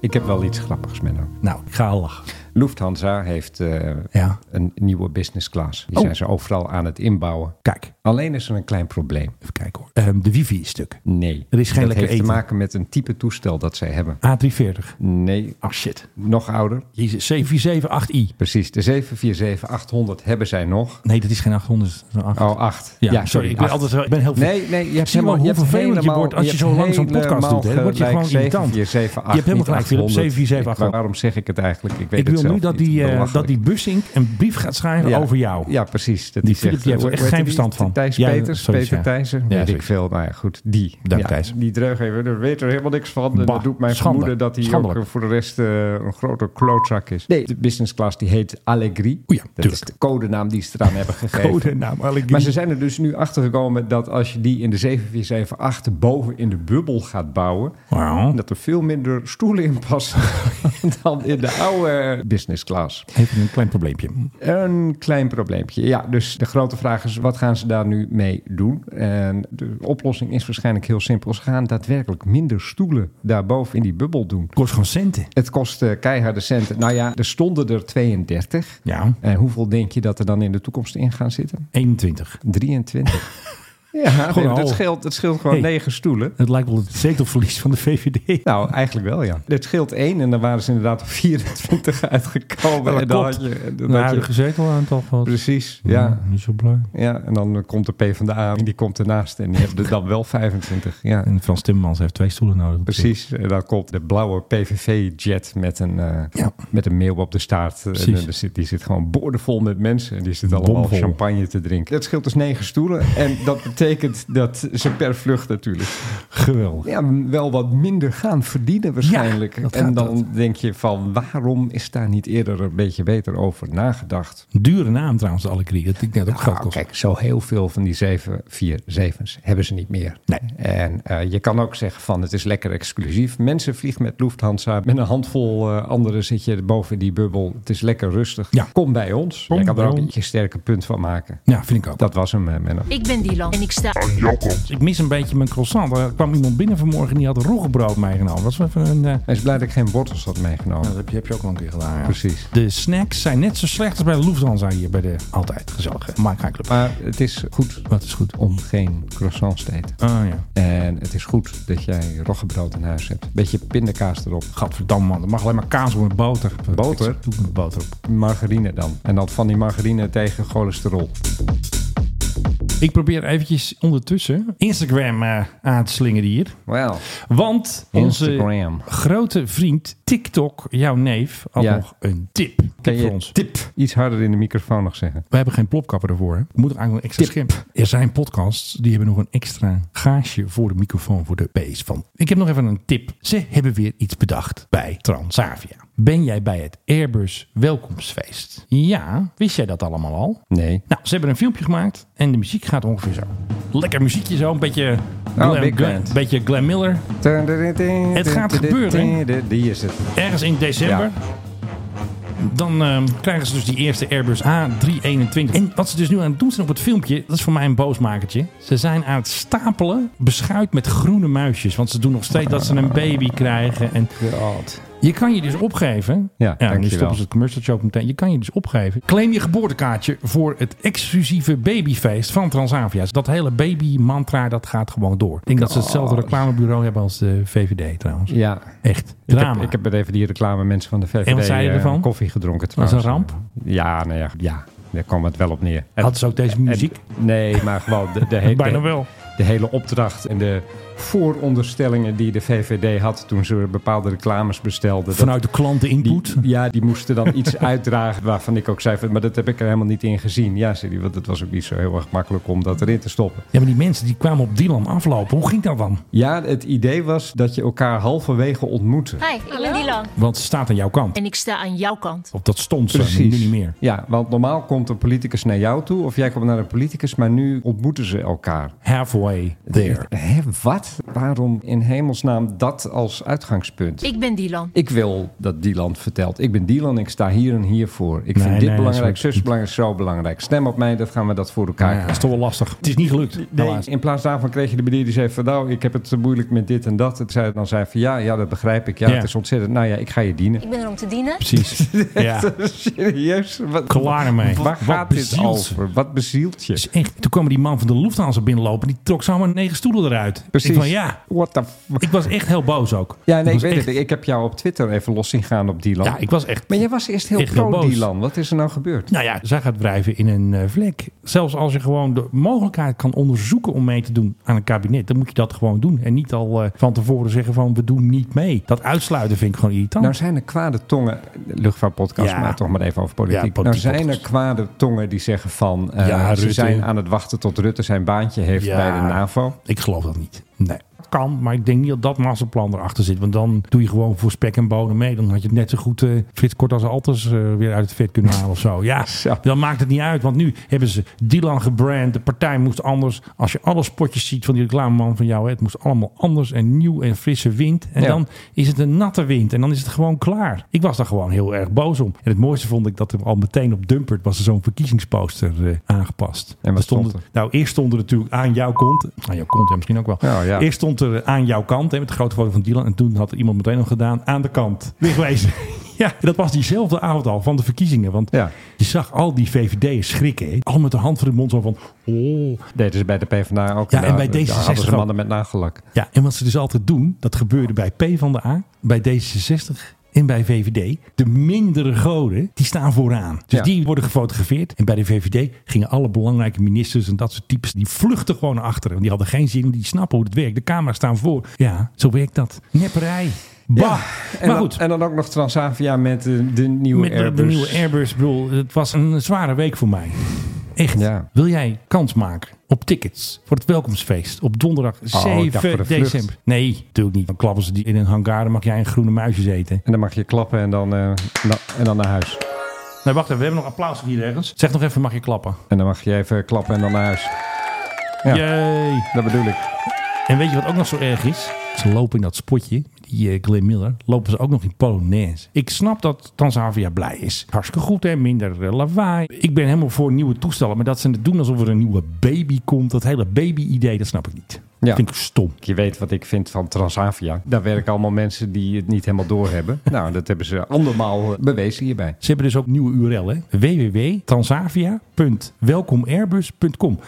[SPEAKER 1] Ik heb wel iets grappigs, Menno.
[SPEAKER 2] Nou, ik ga al lachen.
[SPEAKER 1] Lufthansa heeft eh,
[SPEAKER 2] Ja.
[SPEAKER 1] een nieuwe business class. Die
[SPEAKER 2] Oh.
[SPEAKER 1] zijn ze overal aan het inbouwen.
[SPEAKER 2] Kijk,
[SPEAKER 1] Alleen is er een klein probleem.
[SPEAKER 2] even kijken hoor. Ehm, de wifi is stuk.
[SPEAKER 1] Nee.
[SPEAKER 2] Er is geen
[SPEAKER 1] dat
[SPEAKER 2] lekker
[SPEAKER 1] heeft
[SPEAKER 2] eten.
[SPEAKER 1] te maken met een type toestel dat zij hebben.
[SPEAKER 2] A340.
[SPEAKER 1] Nee,
[SPEAKER 2] Oh shit.
[SPEAKER 1] nog ouder.
[SPEAKER 2] Jezus, C478i.
[SPEAKER 1] Precies, de 747-800 hebben zij nog.
[SPEAKER 2] Nee, dat is geen 800. dat is een 8.
[SPEAKER 1] Oh, 8.
[SPEAKER 2] Ja, sorry, ik ben
[SPEAKER 1] acht.
[SPEAKER 2] altijd zo- ik ben heel ver-
[SPEAKER 1] Nee, nee, je hebt
[SPEAKER 2] Zie je
[SPEAKER 1] helemaal
[SPEAKER 2] wel hoe
[SPEAKER 1] je hebt
[SPEAKER 2] vervelend je
[SPEAKER 1] helemaal-
[SPEAKER 2] wordt als je zo lang zo'n podcast doet, hè? Dan word je gewoon irritant.
[SPEAKER 1] 747,
[SPEAKER 2] Je hebt helemaal gelijk, Philip, 747,
[SPEAKER 1] Waarom zeg ik het eigenlijk? Ik weet
[SPEAKER 2] Ik
[SPEAKER 1] het
[SPEAKER 2] wil wil
[SPEAKER 1] zelf
[SPEAKER 2] nu dat
[SPEAKER 1] niet.
[SPEAKER 2] die, eh,
[SPEAKER 1] Belachelijk.
[SPEAKER 2] dat die Bussink een brief gaat schrijven
[SPEAKER 1] Ja.
[SPEAKER 2] over jou.
[SPEAKER 1] Ja, precies. Dat
[SPEAKER 2] Die
[SPEAKER 1] zegt,
[SPEAKER 2] Philip, die heeft er
[SPEAKER 1] hoe-
[SPEAKER 2] echt
[SPEAKER 1] hoe
[SPEAKER 2] geen
[SPEAKER 1] heet
[SPEAKER 2] verstand van.
[SPEAKER 1] Thijs
[SPEAKER 2] Ja,
[SPEAKER 1] Peters,
[SPEAKER 2] zoiets,
[SPEAKER 1] Peter
[SPEAKER 2] ja.
[SPEAKER 1] Thijs, weet ik
[SPEAKER 2] zoiets.
[SPEAKER 1] veel. Nou ja, goed, die.
[SPEAKER 2] Dank,
[SPEAKER 1] Ja,
[SPEAKER 2] Thijs.
[SPEAKER 1] Die dreugever, daar weet er helemaal niks van. En
[SPEAKER 2] Bah,
[SPEAKER 1] dat doet mijn
[SPEAKER 2] schande.
[SPEAKER 1] vermoeden dat hij ook
[SPEAKER 2] Schandelijk.
[SPEAKER 1] eh, voor de rest eh, een grote klootzak is. Nee, de business class die heet Allegri.
[SPEAKER 2] Oeh Oh ja,
[SPEAKER 1] dat is
[SPEAKER 2] tuurlijk.
[SPEAKER 1] de codenaam die ze eraan hebben gegeven.
[SPEAKER 2] Codenaam Allegri.
[SPEAKER 1] Maar ze zijn er dus nu achter gekomen dat als je die in de 7478 boven in de bubbel gaat bouwen,
[SPEAKER 2] Wauw.
[SPEAKER 1] dat er veel minder stoelen in passen dan in de oude business class.
[SPEAKER 2] Heeft een klein probleempje.
[SPEAKER 1] Een klein probleempje. Ja, dus de grote vraag is: wat gaan ze daar nu mee doen? En de oplossing is waarschijnlijk heel simpel. Ze gaan daadwerkelijk minder stoelen daarboven in die bubbel doen.
[SPEAKER 2] Kost gewoon centen.
[SPEAKER 1] Het kost eh, keiharde centen. Nou ja, er stonden er 32.
[SPEAKER 2] Ja,
[SPEAKER 1] En hoeveel denk je dat er dan in de toekomst in gaan zitten?
[SPEAKER 2] 21.
[SPEAKER 1] 23. ja, nee,
[SPEAKER 2] Gewoon al.
[SPEAKER 1] dat, scheelt, dat scheelt gewoon
[SPEAKER 2] Hey.
[SPEAKER 1] negen stoelen.
[SPEAKER 2] Het lijkt wel het zetelverlies van de VVD.
[SPEAKER 1] Nou, eigenlijk wel, ja. Het scheelt één en dan waren ze inderdaad op 24 uitgekomen. en dan had je, dan
[SPEAKER 2] een
[SPEAKER 1] had je-
[SPEAKER 2] huidige zetelaantal gehad.
[SPEAKER 1] Precies, ja.
[SPEAKER 2] Mm, Niet zo blij.
[SPEAKER 1] Ja, en dan eh, komt de PvdA en die komt ernaast en die hebben er dan wel 25. Ja,
[SPEAKER 2] En Frans Timmermans heeft twee stoelen nodig.
[SPEAKER 1] precies. En dan komt de blauwe PVV-jet met, een eh
[SPEAKER 2] Ja.
[SPEAKER 1] met een meeuw op de staart. En,
[SPEAKER 2] Precies.
[SPEAKER 1] eh, er zit, die zit gewoon boordevol met mensen en die zit allemaal
[SPEAKER 2] Bomvol.
[SPEAKER 1] champagne te drinken. Dat scheelt dus negen stoelen en dat betekent dat ze per vlucht natuurlijk
[SPEAKER 2] Geweldig.
[SPEAKER 1] ja, wel wat minder gaan verdienen waarschijnlijk.
[SPEAKER 2] dat
[SPEAKER 1] en
[SPEAKER 2] gaat
[SPEAKER 1] dan
[SPEAKER 2] dat.
[SPEAKER 1] denk je van waarom is daar niet eerder een beetje beter over nagedacht?
[SPEAKER 2] Dure naam trouwens, de Allegri. Dat ik net ook geld
[SPEAKER 1] Nou,
[SPEAKER 2] kost.
[SPEAKER 1] kijk, zo heel veel van die 747's hebben ze niet meer.
[SPEAKER 2] Nee.
[SPEAKER 1] En eh, je kan ook zeggen van het is lekker exclusief. Mensen vliegen met Lufthansa. Met een handvol eh, anderen zit je boven die bubbel. Het is lekker rustig.
[SPEAKER 2] Ja.
[SPEAKER 1] Kom bij ons.
[SPEAKER 2] Kom
[SPEAKER 1] je kan er
[SPEAKER 2] bij
[SPEAKER 1] ook
[SPEAKER 2] ons.
[SPEAKER 1] een sterke punt van maken.
[SPEAKER 2] Ja, vind ik ook.
[SPEAKER 1] Dat was hem, eh, Menno.
[SPEAKER 6] Ik ben Dylan en ik sta
[SPEAKER 2] Ik mis een beetje mijn croissant. Er kwam iemand binnen vanmorgen en die had roggebrood meegenomen. Dat was even een... eh,
[SPEAKER 1] Hij is blij dat ik geen wortels had meegenomen.
[SPEAKER 2] dat heb je, heb je ook al een keer gedaan, ja.
[SPEAKER 1] Precies.
[SPEAKER 2] De snacks zijn net zo slecht als bij de Lufthansa hier bij de altijd gezellige Mike High Club.
[SPEAKER 1] Maar het is goed
[SPEAKER 2] Wat is goed?
[SPEAKER 1] om geen croissants te eten.
[SPEAKER 2] Ah ja.
[SPEAKER 1] En het is goed dat jij roggebrood in huis hebt. Beetje pindakaas erop.
[SPEAKER 2] Gadverdamme man, er mag alleen maar kaas worden boter.
[SPEAKER 1] Boter?
[SPEAKER 2] Ik Doe met boter op.
[SPEAKER 1] Margarine dan. En dan van die margarine tegen cholesterol.
[SPEAKER 2] Ik probeer eventjes ondertussen Instagram eh, aan te slingeren hier.
[SPEAKER 1] Wel.
[SPEAKER 2] Want onze
[SPEAKER 1] Instagram.
[SPEAKER 2] grote vriend TikTok, jouw neef, had
[SPEAKER 1] Ja.
[SPEAKER 2] nog een tip
[SPEAKER 1] Kan
[SPEAKER 2] voor
[SPEAKER 1] je
[SPEAKER 2] ons.
[SPEAKER 1] tip iets harder in de microfoon nog zeggen?
[SPEAKER 2] We hebben geen plopkapper ervoor. Hè? We moeten eigenlijk een extra schimp. Er zijn podcasts die hebben nog een extra gaasje voor de microfoon voor de base van. Ik heb nog even een tip. Ze hebben weer iets bedacht bij Transavia. Ben jij bij het Airbus welkomstfeest? Ja, wist jij dat allemaal al?
[SPEAKER 1] Nee.
[SPEAKER 2] Nou, ze hebben een filmpje gemaakt en de muziek gaat ongeveer zo. Lekker muziekje zo, een beetje Glenn,
[SPEAKER 1] Oh, big band.
[SPEAKER 2] beetje Glenn Miller.
[SPEAKER 1] Het
[SPEAKER 2] gaat gebeuren.
[SPEAKER 1] Die is het.
[SPEAKER 2] Ergens in december.
[SPEAKER 1] Ja.
[SPEAKER 2] Dan ehm, krijgen ze dus die eerste Airbus A321. En wat ze dus nu aan het doen zijn op het filmpje, dat is voor mij een boosmakertje. Ze zijn aan het stapelen beschuit met groene muisjes. Want ze doen nog steeds dat ze een baby krijgen. En je kan je dus opgeven.
[SPEAKER 1] Ja,
[SPEAKER 2] nu
[SPEAKER 1] dankjewel.
[SPEAKER 2] stoppen ze het commercialtje ook meteen. Je kan je dus opgeven. Claim je geboortekaartje voor het exclusieve babyfeest van Transavia. Dus Dat hele baby-mantra, dat gaat gewoon door. Ik denk dat ze hetzelfde reclamebureau hebben als de VVD trouwens.
[SPEAKER 1] Ja.
[SPEAKER 2] Echt.
[SPEAKER 1] Ik
[SPEAKER 2] Drama.
[SPEAKER 1] heb, ik heb met even die reclame mensen van de VVD
[SPEAKER 2] En wat zeiden
[SPEAKER 1] eh,
[SPEAKER 2] ervan?
[SPEAKER 1] koffie gedronken.
[SPEAKER 2] Was dat
[SPEAKER 1] trouwens.
[SPEAKER 2] een
[SPEAKER 1] Ja, nou ja, ja, daar kwam het wel op neer. En-
[SPEAKER 2] Hadden ze ook deze
[SPEAKER 1] en-
[SPEAKER 2] muziek?
[SPEAKER 1] nee, maar gewoon de, de, he-
[SPEAKER 2] Bijna
[SPEAKER 1] de-
[SPEAKER 2] wel.
[SPEAKER 1] de hele opdracht en de vooronderstellingen die de VVD had toen ze bepaalde reclames bestelden. dat-
[SPEAKER 2] Vanuit de klanteninput.
[SPEAKER 1] Die, ja, die moesten dan iets uitdragen waarvan ik ook zei, van, maar dat heb ik er helemaal niet in gezien. Ja, zei die, want het was ook niet zo heel erg makkelijk om dat erin te stoppen.
[SPEAKER 2] Ja, maar die mensen die kwamen op Dylan aflopen. Hoe ging dat dan?
[SPEAKER 1] Ja, het idee was dat je elkaar halverwege ontmoette.
[SPEAKER 5] Hi, ik ben Dylan.
[SPEAKER 2] Want ze staat aan jouw kant.
[SPEAKER 6] en ik sta aan jouw kant.
[SPEAKER 2] Of dat stond ze, maar nu niet meer.
[SPEAKER 1] Ja, want normaal komt een politicus naar jou toe of jij komt naar een politicus, maar nu ontmoeten ze elkaar.
[SPEAKER 2] Halfway there.
[SPEAKER 1] Hè, wat? Waarom in hemelsnaam dat als uitgangspunt?
[SPEAKER 6] Ik ben Dylan.
[SPEAKER 1] Ik wil dat Dylan vertelt. Ik ben Dylan, ik sta hier en hier voor. Ik
[SPEAKER 2] Nee,
[SPEAKER 1] vind dit
[SPEAKER 2] nee,
[SPEAKER 1] belangrijk,
[SPEAKER 2] zo-
[SPEAKER 1] zus belangrijk, zo belangrijk. Stem op mij, dat gaan we dat voor elkaar
[SPEAKER 2] Ja, dat is toch wel lastig. Het is niet gelukt,
[SPEAKER 1] Nee,
[SPEAKER 2] helaas.
[SPEAKER 1] in plaats daarvan kreeg je de bediende die zei van nou, ik heb het moeilijk met dit en dat. En zei, dan zei hij van ja, ja, dat begrijp ik. Ja,
[SPEAKER 2] Ja.
[SPEAKER 1] het is ontzettend. Nou ja, ik ga je dienen.
[SPEAKER 5] Ik ben er om te dienen.
[SPEAKER 2] Precies. ja,
[SPEAKER 1] Serieus? Wat,
[SPEAKER 2] klaar ermee.
[SPEAKER 1] Waar gaat dit
[SPEAKER 2] bezielt ze?
[SPEAKER 1] over? Wat bezielt je?
[SPEAKER 2] Het is Dus echt. Toen kwam die man van de Lufthansa binnenlopen. Die trok zomaar negen stoelen eruit.
[SPEAKER 1] Precies.
[SPEAKER 2] Ik van ja.
[SPEAKER 1] What the fuck?
[SPEAKER 2] Ik was echt heel boos ook.
[SPEAKER 1] Ja, nee, ik
[SPEAKER 2] was
[SPEAKER 1] weet
[SPEAKER 2] echt-
[SPEAKER 1] het. Ik heb jou op Twitter even los zien gaan op Dylan.
[SPEAKER 2] Ja, ik was echt...
[SPEAKER 1] Maar jij was eerst heel
[SPEAKER 2] Echt heel boos.
[SPEAKER 1] pro-Dylan. Wat is er nou gebeurd?
[SPEAKER 2] Nou ja, zij gaat wrijven in een eh, vlek. Zelfs als je gewoon de mogelijkheid kan onderzoeken om mee te doen aan een kabinet, dan moet je dat gewoon doen. En niet al eh, van tevoren zeggen van we doen niet mee. Dat uitsluiten vind ik gewoon irritant.
[SPEAKER 1] Nou zijn er kwade tongen, luchtvaartpodcast,
[SPEAKER 2] Oh. Ja.
[SPEAKER 1] maar toch maar even over
[SPEAKER 2] Ja,
[SPEAKER 1] politiek.
[SPEAKER 2] politiek
[SPEAKER 1] nou zijn er
[SPEAKER 2] podcast.
[SPEAKER 1] kwade tongen die zeggen van, eh,
[SPEAKER 2] Ja,
[SPEAKER 1] ze
[SPEAKER 2] Rutte.
[SPEAKER 1] zijn aan het wachten tot Rutte zijn baantje heeft
[SPEAKER 2] Ja.
[SPEAKER 1] bij de NAVO.
[SPEAKER 2] Ik geloof dat niet. Nee. Dat kan, maar ik denk niet dat dat masterplan erachter zit. Want dan doe je gewoon voor spek en bonen mee. Dan had je het net zo goed eh Frits Kort als Alters eh, weer uit het vet kunnen halen of zo. Ja, dan maakt het niet uit. Want nu hebben ze Dylan gebrand. De partij moest anders. Als je alle spotjes ziet van die reclameman van jou. Hè, het moest allemaal anders en nieuw en frisse wind. En
[SPEAKER 1] Ja.
[SPEAKER 2] dan is het een natte wind. En dan is het gewoon klaar. Ik was daar gewoon heel erg boos om. En het mooiste vond ik dat er al meteen op Dumpert was er zo'n verkiezingsposter eh, aangepast.
[SPEAKER 1] En wat
[SPEAKER 2] Er
[SPEAKER 1] stond er?
[SPEAKER 2] nou, eerst stond er natuurlijk aan jouw kont. Aan jouw kont, hè, misschien ook wel.
[SPEAKER 1] Ja, ja.
[SPEAKER 2] Eerst stond er aan jouw kant, hè, met de grote foto van Dylan. En toen had er iemand meteen nog gedaan, aan de kant. Wegwezen. Ja, dat was diezelfde avond al van de verkiezingen. Want
[SPEAKER 1] Ja.
[SPEAKER 2] je zag al die VVD'ers schrikken. hè. Al met de hand voor de mond zo van... Oh.
[SPEAKER 1] Deden ze bij de PvdA ook. Nou,
[SPEAKER 2] Ja, en bij
[SPEAKER 1] Daar
[SPEAKER 2] D66
[SPEAKER 1] hadden ze
[SPEAKER 2] ook.
[SPEAKER 1] mannen met nagellak.
[SPEAKER 2] Ja, en wat ze dus altijd doen, dat gebeurde bij P van de A, bij D66 en bij VVD. De mindere goden, die staan vooraan. Dus
[SPEAKER 1] Ja.
[SPEAKER 2] die worden gefotografeerd. En bij de VVD gingen alle belangrijke ministers en dat soort types, die vluchten gewoon naar achteren. Want die hadden geen zin, want die snappen hoe het werkt. De camera's staan voor. Ja, zo werkt dat. Nepperij. Bah.
[SPEAKER 1] En,
[SPEAKER 2] maar
[SPEAKER 1] dan,
[SPEAKER 2] goed.
[SPEAKER 1] en dan ook nog Transavia met eh, de, de nieuwe
[SPEAKER 2] Met de-
[SPEAKER 1] Airbus.
[SPEAKER 2] de nieuwe Airbus. Ik bedoel, het was een zware week voor mij. Echt.
[SPEAKER 1] Ja.
[SPEAKER 2] Wil jij kans maken op tickets voor het welkomstfeest op donderdag
[SPEAKER 1] Oh, dacht
[SPEAKER 2] 7
[SPEAKER 1] voor de vlucht.
[SPEAKER 2] december? Nee, natuurlijk niet. Dan klappen ze die in een hangar. Dan mag jij een groene muisjes eten.
[SPEAKER 1] En dan mag je klappen en dan, eh, na- en dan naar huis.
[SPEAKER 2] Nee, wacht even. We hebben nog applaus hier ergens. Zeg nog even, mag je klappen?
[SPEAKER 1] En dan mag je even klappen en dan naar huis. Ja.
[SPEAKER 2] Yay.
[SPEAKER 1] Dat bedoel ik.
[SPEAKER 2] En weet je wat ook nog zo erg is? Ze lopen in dat spotje, die eh, Glenn Miller, lopen ze ook nog in Polonaise. Ik snap dat Transavia blij is. Hartstikke goed, hè? minder eh, lawaai. Ik ben helemaal voor nieuwe toestellen, maar dat ze het doen alsof er een nieuwe baby komt. Dat hele baby-idee, dat snap ik niet.
[SPEAKER 1] Ja.
[SPEAKER 2] Vind ik stom.
[SPEAKER 1] Je weet wat ik vind van Transavia. Daar werken allemaal mensen die het niet helemaal doorhebben. nou, dat hebben ze andermaal eh, bewezen hierbij.
[SPEAKER 2] Ze hebben dus ook nieuwe URL, hè? www.transavia.welkomairbus.com.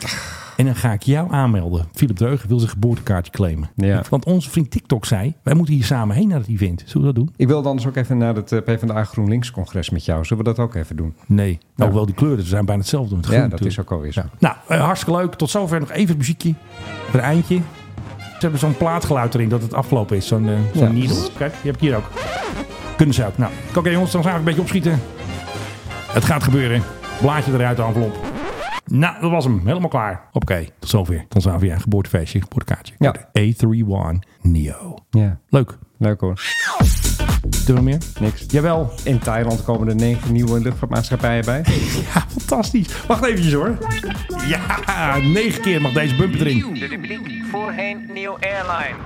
[SPEAKER 2] En dan ga ik jou aanmelden. Philip Deugen wil zijn geboortekaartje claimen.
[SPEAKER 1] Ja.
[SPEAKER 2] Want onze vriend TikTok zei, wij moeten hier samen heen naar het event. Zullen we dat doen?
[SPEAKER 1] Ik wil anders ook even naar het eh, PvdA GroenLinks-congres met jou. Zullen we dat ook even doen?
[SPEAKER 2] Nee. Nou, wel die kleuren, ze zijn bijna hetzelfde. Met groen
[SPEAKER 1] ja, dat
[SPEAKER 2] natuurlijk.
[SPEAKER 1] is ook alweer zo.
[SPEAKER 2] Nou, eh, hartstikke leuk. Tot zover nog even het muziekje. Het eindje. Ze hebben zo'n plaatgeluid erin dat het afgelopen is. Zo'n eh, zo'n
[SPEAKER 1] Ja.
[SPEAKER 2] needle. Kijk, die heb ik hier ook. Kunnen ze ook. Nou, oké jongens, dan gaan we een beetje opschieten. Het gaat gebeuren. Blaadje eruit de envelop. Nou, dat was hem. Helemaal klaar. Oké, tot zover. Transavia, geboortefeestje, geboortekaartje.
[SPEAKER 1] Ja.
[SPEAKER 2] A31 Neo.
[SPEAKER 1] Ja.
[SPEAKER 2] Leuk.
[SPEAKER 1] Leuk hoor.
[SPEAKER 2] Doen we nog meer?
[SPEAKER 1] Niks.
[SPEAKER 2] Jawel.
[SPEAKER 1] In Thailand komen er negen nieuwe luchtvaartmaatschappijen bij.
[SPEAKER 2] Ja, fantastisch. Wacht eventjes hoor. Ja, negen keer mag deze bumper erin.
[SPEAKER 12] Voorheen Neo Airline.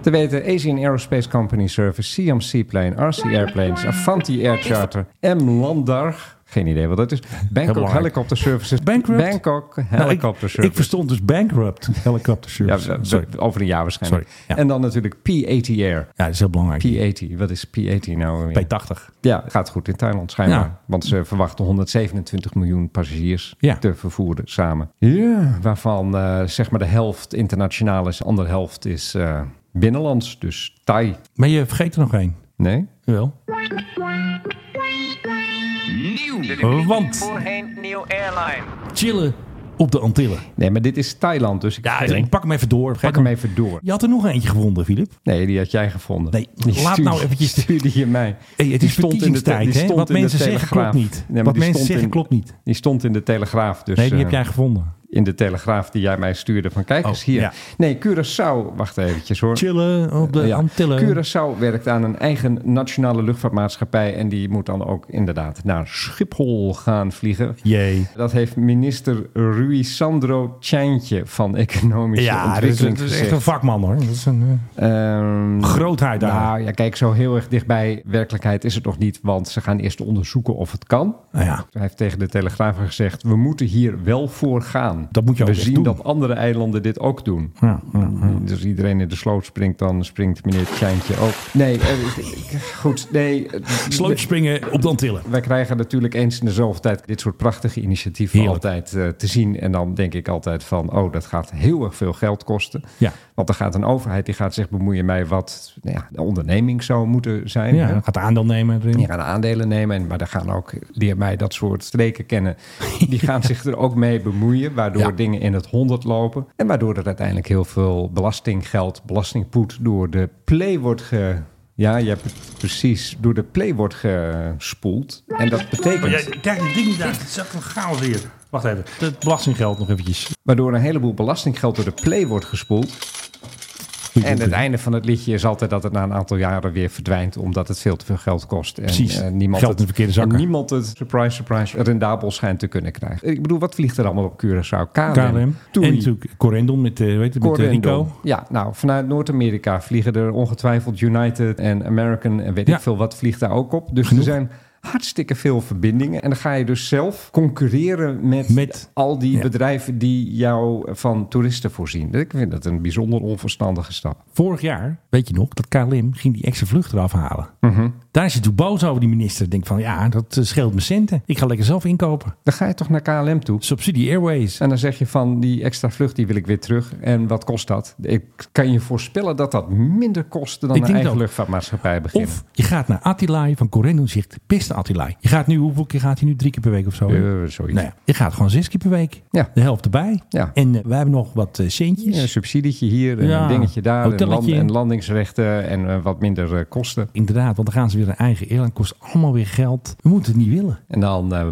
[SPEAKER 1] Te weten Asian Aerospace Company Service, Siam Seaplane, RC Airplanes, Avanti Air Charter, M. Landarg. Geen idee wat dat is. Bangkok
[SPEAKER 2] belangrijk.
[SPEAKER 1] Helicopter Services.
[SPEAKER 2] Bankrupt?
[SPEAKER 1] Bangkok
[SPEAKER 2] Nou, ik-
[SPEAKER 1] Helicopter
[SPEAKER 2] ik,
[SPEAKER 1] Service.
[SPEAKER 2] verstond dus bankrupt helicopter
[SPEAKER 1] ja,
[SPEAKER 2] service.
[SPEAKER 1] we- we-
[SPEAKER 2] Sorry.
[SPEAKER 1] over een jaar waarschijnlijk.
[SPEAKER 2] Sorry, ja.
[SPEAKER 1] En dan natuurlijk P-80 Air.
[SPEAKER 2] Ja, dat is heel belangrijk.
[SPEAKER 1] P-80, wat is P-80 nou? weer?
[SPEAKER 2] P80.
[SPEAKER 1] Ja, gaat goed in Thailand schijnbaar.
[SPEAKER 2] Ja.
[SPEAKER 1] Want ze verwachten 127 miljoen passagiers
[SPEAKER 2] Ja.
[SPEAKER 1] te vervoeren samen. Waarvan eh, zeg maar de helft internationaal is, de andere helft is eh, binnenlands. Dus Thai.
[SPEAKER 2] Maar je vergeet er nog één.
[SPEAKER 1] Nee?
[SPEAKER 2] Jawel. Want
[SPEAKER 12] Voorheen Neo Airline.
[SPEAKER 2] chillen op de Antillen.
[SPEAKER 1] Nee, maar dit is Thailand, dus ik
[SPEAKER 2] Ja,
[SPEAKER 1] vergeet-
[SPEAKER 2] ik pak hem even door.
[SPEAKER 1] pak hem even Eh, door.
[SPEAKER 2] Je had er nog eentje gevonden, Filip.
[SPEAKER 1] Nee, die had jij gevonden.
[SPEAKER 2] Nee,
[SPEAKER 1] Die
[SPEAKER 2] laat
[SPEAKER 1] stuurde-
[SPEAKER 2] nou eventjes-
[SPEAKER 1] stuurde je mij.
[SPEAKER 2] Hey, het
[SPEAKER 1] Die
[SPEAKER 2] is
[SPEAKER 1] stond in de te-
[SPEAKER 2] verkiezingstijd,
[SPEAKER 1] die
[SPEAKER 2] hè?
[SPEAKER 1] stond
[SPEAKER 2] Wat
[SPEAKER 1] in de
[SPEAKER 2] mensen zeggen klopt
[SPEAKER 1] Telegraaf.
[SPEAKER 2] niet.
[SPEAKER 1] maar
[SPEAKER 2] Wat
[SPEAKER 1] die
[SPEAKER 2] mensen
[SPEAKER 1] stond
[SPEAKER 2] zeggen
[SPEAKER 1] in-
[SPEAKER 2] klopt niet.
[SPEAKER 1] Die stond in de Telegraaf. Dus,
[SPEAKER 2] nee, die heb
[SPEAKER 1] eh,
[SPEAKER 2] jij gevonden.
[SPEAKER 1] in de Telegraaf die jij mij stuurde van kijk
[SPEAKER 2] Oh,
[SPEAKER 1] eens hier.
[SPEAKER 2] ja.
[SPEAKER 1] Nee, Curaçao, wacht eventjes hoor.
[SPEAKER 2] Chillen op de
[SPEAKER 1] Ja.
[SPEAKER 2] Eh, Antillen.
[SPEAKER 1] Curaçao werkt aan een eigen nationale luchtvaartmaatschappij en die moet dan ook inderdaad naar Schiphol gaan vliegen.
[SPEAKER 2] Jee.
[SPEAKER 1] Dat heeft minister Rui Sandro Tjantje van Economische
[SPEAKER 2] Ja, dat is,
[SPEAKER 1] Ontwikkeling
[SPEAKER 2] dat is echt
[SPEAKER 1] gezegd.
[SPEAKER 2] een vakman hoor. Dat is een eh,
[SPEAKER 1] Ehm,
[SPEAKER 2] grootheid daar.
[SPEAKER 1] nou ja, kijk, zo heel erg dichtbij werkelijkheid is het nog niet, want ze gaan eerst onderzoeken of het kan.
[SPEAKER 2] Nou ja,
[SPEAKER 1] Hij heeft tegen de Telegraaf gezegd: We moeten hier wel voor gaan.
[SPEAKER 2] Dat moet je ook
[SPEAKER 1] We
[SPEAKER 2] echt
[SPEAKER 1] zien
[SPEAKER 2] doen.
[SPEAKER 1] dat andere eilanden dit ook doen.
[SPEAKER 2] ja, ja.
[SPEAKER 1] Dus iedereen in de sloot springt, dan springt meneer Tjantje ook. Nee, eh, ik- goed. Nee, eh,
[SPEAKER 2] Slootspringen op de Antillen.
[SPEAKER 1] wij krijgen natuurlijk eens in de zoveel tijd dit soort prachtige initiatieven
[SPEAKER 2] Heerlijk.
[SPEAKER 1] altijd eh, te zien. En dan denk ik altijd van, oh, dat gaat heel erg veel geld kosten.
[SPEAKER 2] Ja.
[SPEAKER 1] Want er gaat een overheid die gaat zich bemoeien met wat nou ja, de onderneming zou moeten zijn.
[SPEAKER 2] Ja,
[SPEAKER 1] hè?
[SPEAKER 2] dan gaat aandeel nemen. erin.
[SPEAKER 1] Die gaan aandelen nemen, en, maar er gaan ook, leer mij dat soort streken kennen, die gaan zich er ook mee bemoeien, waardoor
[SPEAKER 2] Ja.
[SPEAKER 1] dingen in het honderd lopen. En waardoor er uiteindelijk heel veel belastinggeld, belastingpoet door de play wordt ge... Ja, je hebt het precies door de play wordt gespoeld. En dat betekent...
[SPEAKER 2] Ja, kijk, die ding daar. Het is echt een chaos hier. Wacht even. Het belastinggeld nog eventjes.
[SPEAKER 1] Waardoor een heleboel belastinggeld door de play wordt gespoeld. En het einde van het liedje is altijd dat het na een aantal jaren weer verdwijnt. Omdat het veel te veel geld kost. En,
[SPEAKER 2] Precies.
[SPEAKER 1] eh, niemand
[SPEAKER 2] Geld in de verkeerde zakken.
[SPEAKER 1] en niemand het, surprise, surprise, rendabel schijnt te kunnen krijgen. Ik bedoel, wat vliegt er allemaal op Curaçao? KLM.
[SPEAKER 2] KLM.
[SPEAKER 1] Toei.
[SPEAKER 2] En natuurlijk Corendon met, eh, weet je, met eh,
[SPEAKER 1] Corendon.
[SPEAKER 2] Rico.
[SPEAKER 1] Ja, nou, vanuit Noord-Amerika vliegen er ongetwijfeld United en American en weet ik veel wat vliegt daar ook op. Dus er zijn hartstikke veel verbindingen. En dan ga je dus zelf concurreren met, al die bedrijven die jou van toeristen voorzien. Dus Ik vind dat een bijzonder onverstandige stap.
[SPEAKER 2] Vorig jaar, weet je nog, dat KLM ging die extra vlucht eraf halen.
[SPEAKER 1] Mhm.
[SPEAKER 2] Daar is hij toen boos over, die minister. Denkt van, ja, dat eh, scheelt me centen. Ik ga lekker zelf inkopen.
[SPEAKER 1] Dan ga je toch naar KLM toe?
[SPEAKER 2] Subsidie Airways.
[SPEAKER 1] En dan zeg je van die extra vlucht die wil ik weer terug. En wat kost dat? Ik kan je voorspellen dat dat minder kost dan
[SPEAKER 2] Ik
[SPEAKER 1] een
[SPEAKER 2] denk
[SPEAKER 1] eigen
[SPEAKER 2] dat.
[SPEAKER 1] luchtvaartmaatschappij beginnen.
[SPEAKER 2] Of je gaat naar Attilai van Corendon zegt, beste Attilai. Je gaat nu, hoeveel keer gaat hij nu? Drie keer per week of zo? hè?
[SPEAKER 1] Eh, zoiets.
[SPEAKER 2] Nou ja, je gaat gewoon zes keer per week.
[SPEAKER 1] Ja.
[SPEAKER 2] De helft erbij.
[SPEAKER 1] Ja.
[SPEAKER 2] En eh, wij hebben nog wat eh, centjes.
[SPEAKER 1] Ja, een subsidietje hier, en
[SPEAKER 2] Ja,
[SPEAKER 1] een dingetje daar, en,
[SPEAKER 2] hotelletje.
[SPEAKER 1] en landingsrechten en eh, wat minder eh, kosten.
[SPEAKER 2] Inderdaad, want dan gaan ze weer een eigen airline. Kost allemaal weer geld. We moeten het niet willen.
[SPEAKER 1] En dan eh,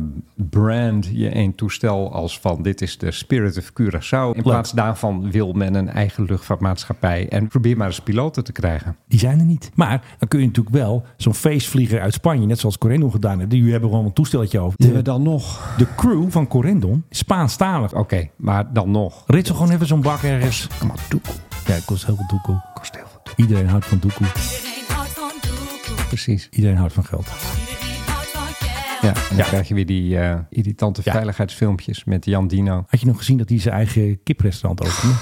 [SPEAKER 1] brand je een toestel als van dit is de Spirit of Curaçao. In plaats daarvan wil men een eigen luchtvaartmaatschappij en probeer maar eens piloten te krijgen.
[SPEAKER 2] Die zijn er niet. Maar dan kun je natuurlijk wel zo'n feestvlieger uit Spanje, net zoals Corendon gedaan heeft. Die hebben gewoon een toestelletje over. De,
[SPEAKER 1] dan nog?
[SPEAKER 2] de crew van Corendon, Spaanstalig.
[SPEAKER 1] Oké, maar dan nog.
[SPEAKER 2] Ritsel gewoon even zo'n bak ergens.
[SPEAKER 1] Kom maar, doekoe.
[SPEAKER 2] Ja, het kost heel veel doekoe. Iedereen houdt van doekoe.
[SPEAKER 1] Precies.
[SPEAKER 2] Iedereen houdt van geld.
[SPEAKER 1] Ja, en dan
[SPEAKER 2] Ja.
[SPEAKER 1] krijg je weer die eh, irritante veiligheidsfilmpjes met Jan Dino.
[SPEAKER 2] Had je nog gezien dat hij zijn eigen kiprestaurant opende?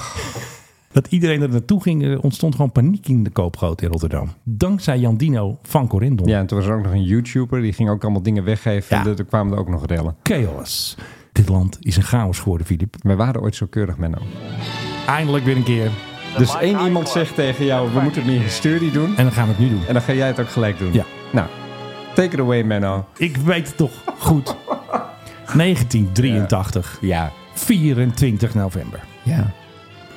[SPEAKER 2] dat iedereen er naartoe ging, er ontstond gewoon paniek in de koopgoot in Rotterdam. Dankzij Jan Dino van Corendon.
[SPEAKER 1] Ja, en toen was er ook nog een YouTuber, die ging ook allemaal dingen weggeven.
[SPEAKER 2] Ja.
[SPEAKER 1] En er- er kwamen er ook nog rellen.
[SPEAKER 2] Chaos. Dit land is een chaos geworden, Filip.
[SPEAKER 1] We waren ooit zo keurig, Menno.
[SPEAKER 2] Eindelijk weer een keer.
[SPEAKER 1] Dus één iemand zegt tegen jou, we moeten meer historie doen.
[SPEAKER 2] En dan gaan we het nu doen.
[SPEAKER 1] En dan ga jij het ook gelijk doen.
[SPEAKER 2] Ja.
[SPEAKER 1] Nou, take it away, Menno.
[SPEAKER 2] Ik weet het toch goed. 1983.
[SPEAKER 1] Ja.
[SPEAKER 2] 24 november.
[SPEAKER 1] Ja.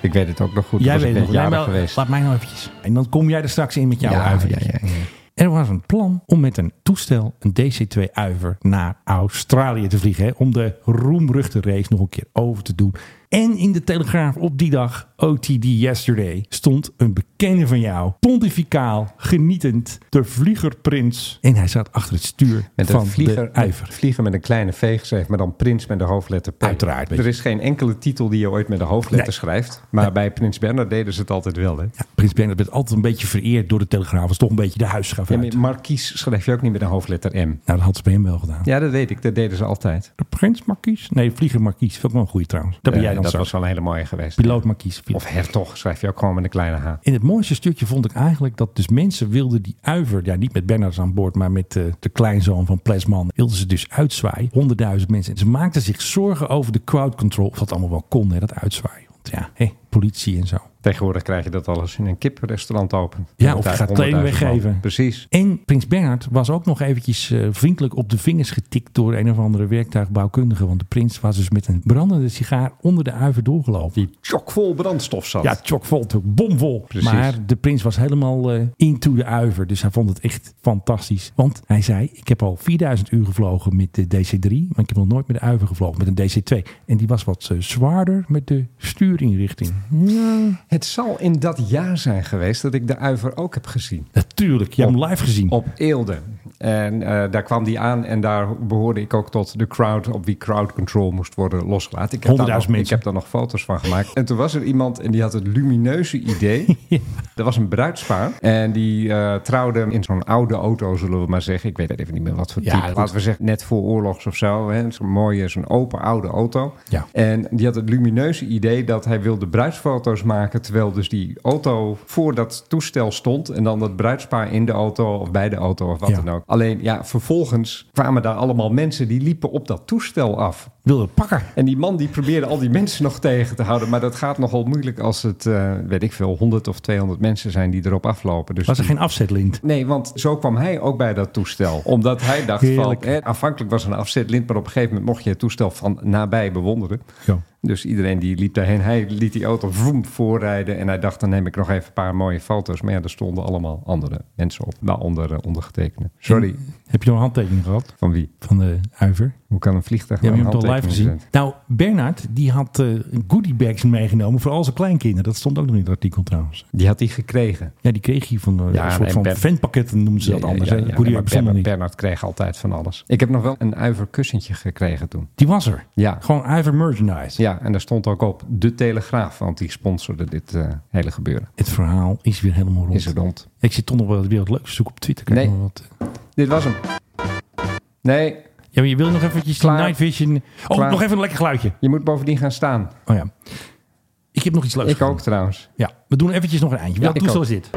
[SPEAKER 1] Ik weet het ook nog goed.
[SPEAKER 2] Jij
[SPEAKER 1] was ik
[SPEAKER 2] weet
[SPEAKER 1] net
[SPEAKER 2] nog, jij
[SPEAKER 1] jarig
[SPEAKER 2] wel-
[SPEAKER 1] geweest.
[SPEAKER 2] laat mij nou eventjes. En dan kom jij er straks in met jouw
[SPEAKER 1] ja,
[SPEAKER 2] uiver.
[SPEAKER 1] ja, ja, ja.
[SPEAKER 2] Er was een plan om met een toestel, een DC-2-uiver, naar Australië te vliegen. Hè, om de roemruchte race nog een keer over te doen. En in de Telegraaf op die dag, OTD Yesterday, stond een bekende van jou, pontificaal, genietend, de vliegerprins. En hij zat achter het stuur
[SPEAKER 1] Met
[SPEAKER 2] van
[SPEAKER 1] een vlieger,
[SPEAKER 2] de uiver.
[SPEAKER 1] vlieger met een kleine V geschreven, maar dan prins met de hoofdletter P.
[SPEAKER 2] Uiteraard, weet je.
[SPEAKER 1] Er is geen enkele titel die je ooit met de hoofdletter
[SPEAKER 2] Nee.
[SPEAKER 1] schrijft. Maar bij Prins Bernhard deden ze het altijd wel. Hè?
[SPEAKER 2] Ja, Prins Bernhard werd altijd een beetje vereerd door de Telegraaf. Was toch een beetje de huisgraaf
[SPEAKER 1] Ja,
[SPEAKER 2] uit.
[SPEAKER 1] maar Markies schrijf je ook niet met een hoofdletter M.
[SPEAKER 2] Nou, dat had ze bij hem wel gedaan.
[SPEAKER 1] Ja, dat weet ik. Dat deden ze altijd.
[SPEAKER 2] De Prins Markies? Nee, Vlieger Markies. Vond ik wel een goede trouwens. Dat ben
[SPEAKER 1] Eh,
[SPEAKER 2] jij dan
[SPEAKER 1] dat
[SPEAKER 2] straks.
[SPEAKER 1] was wel een hele mooie geweest.
[SPEAKER 2] Piloot Markies.
[SPEAKER 1] Of hertog schrijf je ook gewoon met een kleine H.
[SPEAKER 2] In het mooiste stukje vond ik eigenlijk dat dus mensen wilden die uiver, ja niet met Bernards aan boord, maar met eh, de kleinzoon van Plesman, wilden ze dus uitzwaaien. Honderdduizend mensen. En ze maakten zich zorgen over de crowd control, of dat allemaal wel kon, hè, dat uitzwaaien. Want ja, hé, politie en zo.
[SPEAKER 1] Tegenwoordig krijg je dat alles in een kiprestaurant open.
[SPEAKER 2] Ja,
[SPEAKER 1] Met
[SPEAKER 2] of je
[SPEAKER 1] daar
[SPEAKER 2] gaat kleding
[SPEAKER 1] 100.000 man.
[SPEAKER 2] weggeven.
[SPEAKER 1] Precies.
[SPEAKER 2] En Prins Bernhard was ook nog eventjes eh, vriendelijk op de vingers getikt door een of andere werktuigbouwkundige. Want de prins was dus met een brandende sigaar onder de uiver doorgelopen.
[SPEAKER 1] Die chockvol brandstof zat.
[SPEAKER 2] Ja, chockvol, natuurlijk, bomvol.
[SPEAKER 1] Precies.
[SPEAKER 2] Maar de prins was helemaal eh, into de uiver. Dus hij vond het echt fantastisch. Want hij zei, ik heb al 4000 uur gevlogen met de DC-3. Maar ik heb nog nooit met de uiver gevlogen, met een DC-2. En die was wat eh, zwaarder met de stuurinrichting.
[SPEAKER 1] Het zal in dat jaar zijn geweest dat ik de uiver ook heb gezien.
[SPEAKER 2] Natuurlijk, je hebt hem live gezien.
[SPEAKER 1] Op Eelde. En eh, daar kwam die aan en daar behoorde ik ook tot de crowd op wie crowd control moest worden losgelaten. Ik heb, daar
[SPEAKER 2] 100.000
[SPEAKER 1] nog, ik
[SPEAKER 2] mensen.
[SPEAKER 1] heb daar nog foto's van gemaakt. En toen was er iemand en die had het lumineuze idee. Er was een bruidspaar en die eh, trouwde in zo'n oude auto, zullen we maar zeggen. Ik weet even niet meer wat voor
[SPEAKER 2] Ja,
[SPEAKER 1] type.
[SPEAKER 2] goed.
[SPEAKER 1] Laten we zeggen net voor oorlogs of zo. hè. Zo'n mooie, zo'n open oude auto.
[SPEAKER 2] Ja.
[SPEAKER 1] En die had het lumineuze idee dat hij wilde bruidsfoto's maken... terwijl dus die auto voor dat toestel stond... en dan dat bruidspaar in de auto of bij de auto of wat
[SPEAKER 2] Ja.
[SPEAKER 1] dan ook. Alleen ja, vervolgens kwamen daar allemaal mensen die liepen op dat toestel af.
[SPEAKER 2] Wilde pakken.
[SPEAKER 1] En die man die probeerde al die mensen nog tegen te houden. Maar dat gaat nogal moeilijk als het, eh, weet ik veel, 100 of 200 mensen zijn die erop aflopen. Dus
[SPEAKER 2] Was er
[SPEAKER 1] die-
[SPEAKER 2] geen afzetlint?
[SPEAKER 1] Nee, want zo kwam hij ook bij dat toestel. Omdat hij dacht
[SPEAKER 2] Heerlijk.
[SPEAKER 1] van... Hè, aanvankelijk was er een afzetlint, maar op een gegeven moment mocht je het toestel van nabij bewonderen.
[SPEAKER 2] Ja.
[SPEAKER 1] Dus iedereen die liep daarheen, hij liet die auto vroom voorrijden. En hij dacht, dan neem ik nog even een paar mooie foto's. Maar ja, er stonden allemaal andere mensen op, waaronder eh, ondergetekende. Sorry,
[SPEAKER 2] Heb je al een handtekening gehad?
[SPEAKER 1] van wie?
[SPEAKER 2] Van de uiver.
[SPEAKER 1] Hoe kan een vliegtuig
[SPEAKER 2] Ja, maar
[SPEAKER 1] nou
[SPEAKER 2] je
[SPEAKER 1] een
[SPEAKER 2] hebt het al live
[SPEAKER 1] handtekening
[SPEAKER 2] gezien.
[SPEAKER 1] zetten?
[SPEAKER 2] Nou, Bernard die had eh goodiebags meegenomen voor al zijn kleinkinderen. Dat stond ook nog in het artikel trouwens.
[SPEAKER 1] Die had hij gekregen.
[SPEAKER 2] Ja, die kreeg hij van eh,
[SPEAKER 1] Ja,
[SPEAKER 2] een soort
[SPEAKER 1] nee,
[SPEAKER 2] van
[SPEAKER 1] Bern-
[SPEAKER 2] ventpakketten noemden ze dat
[SPEAKER 1] Ja, ja,
[SPEAKER 2] anders.
[SPEAKER 1] ja,
[SPEAKER 2] hè.
[SPEAKER 1] ja,
[SPEAKER 2] Goodiebag
[SPEAKER 1] maar
[SPEAKER 2] bestond nog
[SPEAKER 1] Bernard,
[SPEAKER 2] niet.
[SPEAKER 1] Bernard kreeg altijd van alles. Ik heb nog wel een uiverkussentje gekregen toen.
[SPEAKER 2] Die was er.
[SPEAKER 1] Ja.
[SPEAKER 2] Gewoon uiver merchandise.
[SPEAKER 1] Ja, en daar stond ook op De Telegraaf, want die sponsorde dit eh, hele gebeuren.
[SPEAKER 2] Het verhaal is weer helemaal rond.
[SPEAKER 1] Is het rond.
[SPEAKER 2] Ik zit toch nog wel weer wat leuks te zoeken op Twitter. Kijk
[SPEAKER 1] Nee.
[SPEAKER 2] maar wat.
[SPEAKER 1] Dit was hem. Nee,
[SPEAKER 2] Ja, maar je wil nog eventjes die
[SPEAKER 1] Klaar.
[SPEAKER 2] Night Vision... Oh,
[SPEAKER 1] Klaar.
[SPEAKER 2] nog even een lekker geluidje.
[SPEAKER 1] je moet bovendien gaan staan.
[SPEAKER 2] Oh ja. Ik heb nog iets leuks.
[SPEAKER 1] Ik ook trouwens.
[SPEAKER 2] Ja, we doen eventjes nog een eindje.
[SPEAKER 1] Ja,
[SPEAKER 2] Ja,
[SPEAKER 1] ik
[SPEAKER 2] doe
[SPEAKER 1] ook.
[SPEAKER 2] zoals dit.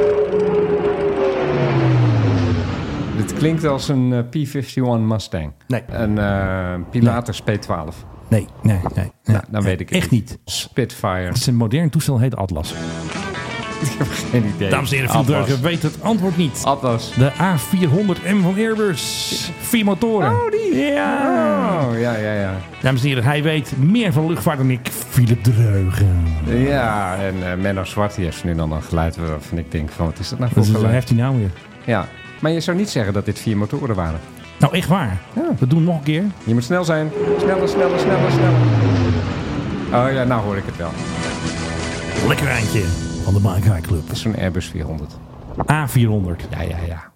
[SPEAKER 1] Dit klinkt als een eh, P-51 Mustang.
[SPEAKER 2] Nee.
[SPEAKER 1] Een eh, Pilatus P-12.
[SPEAKER 2] Nee, nee, nee. nee.
[SPEAKER 1] Nou, dan weet ik het
[SPEAKER 2] Echt niet.
[SPEAKER 1] Spitfire.
[SPEAKER 2] Het is een modern toestel, heet Atlas.
[SPEAKER 1] Ik heb geen idee.
[SPEAKER 2] Dames en heren, veel
[SPEAKER 1] Atlas.
[SPEAKER 2] Dreugen weet het antwoord niet.
[SPEAKER 1] Atlas.
[SPEAKER 2] De A400M van Airbus. Vier motoren. Oh, die. Ja.
[SPEAKER 1] Oh, ja, ja, ja.
[SPEAKER 2] Dames en heren, hij weet meer van luchtvaart dan ik. Philip Dreugen.
[SPEAKER 1] Ja, en eh, Menno Zwart die heeft nu dan een geluid waarvan ik denk van, wat is dat nou voor
[SPEAKER 2] Dat is, waar
[SPEAKER 1] geluid?
[SPEAKER 2] heeft hij nou weer?
[SPEAKER 1] Ja, maar je zou niet zeggen dat dit vier motoren waren.
[SPEAKER 2] Nou, echt waar.
[SPEAKER 1] Ja.
[SPEAKER 2] We doen nog een keer.
[SPEAKER 1] Je moet snel zijn. Sneller, sneller, sneller, sneller. Oh ja, nou hoor ik het wel.
[SPEAKER 2] Lekker eindje van de Mike High Club.
[SPEAKER 1] Dat is zo'n Airbus 400.
[SPEAKER 2] A400.
[SPEAKER 1] Ja, ja, ja.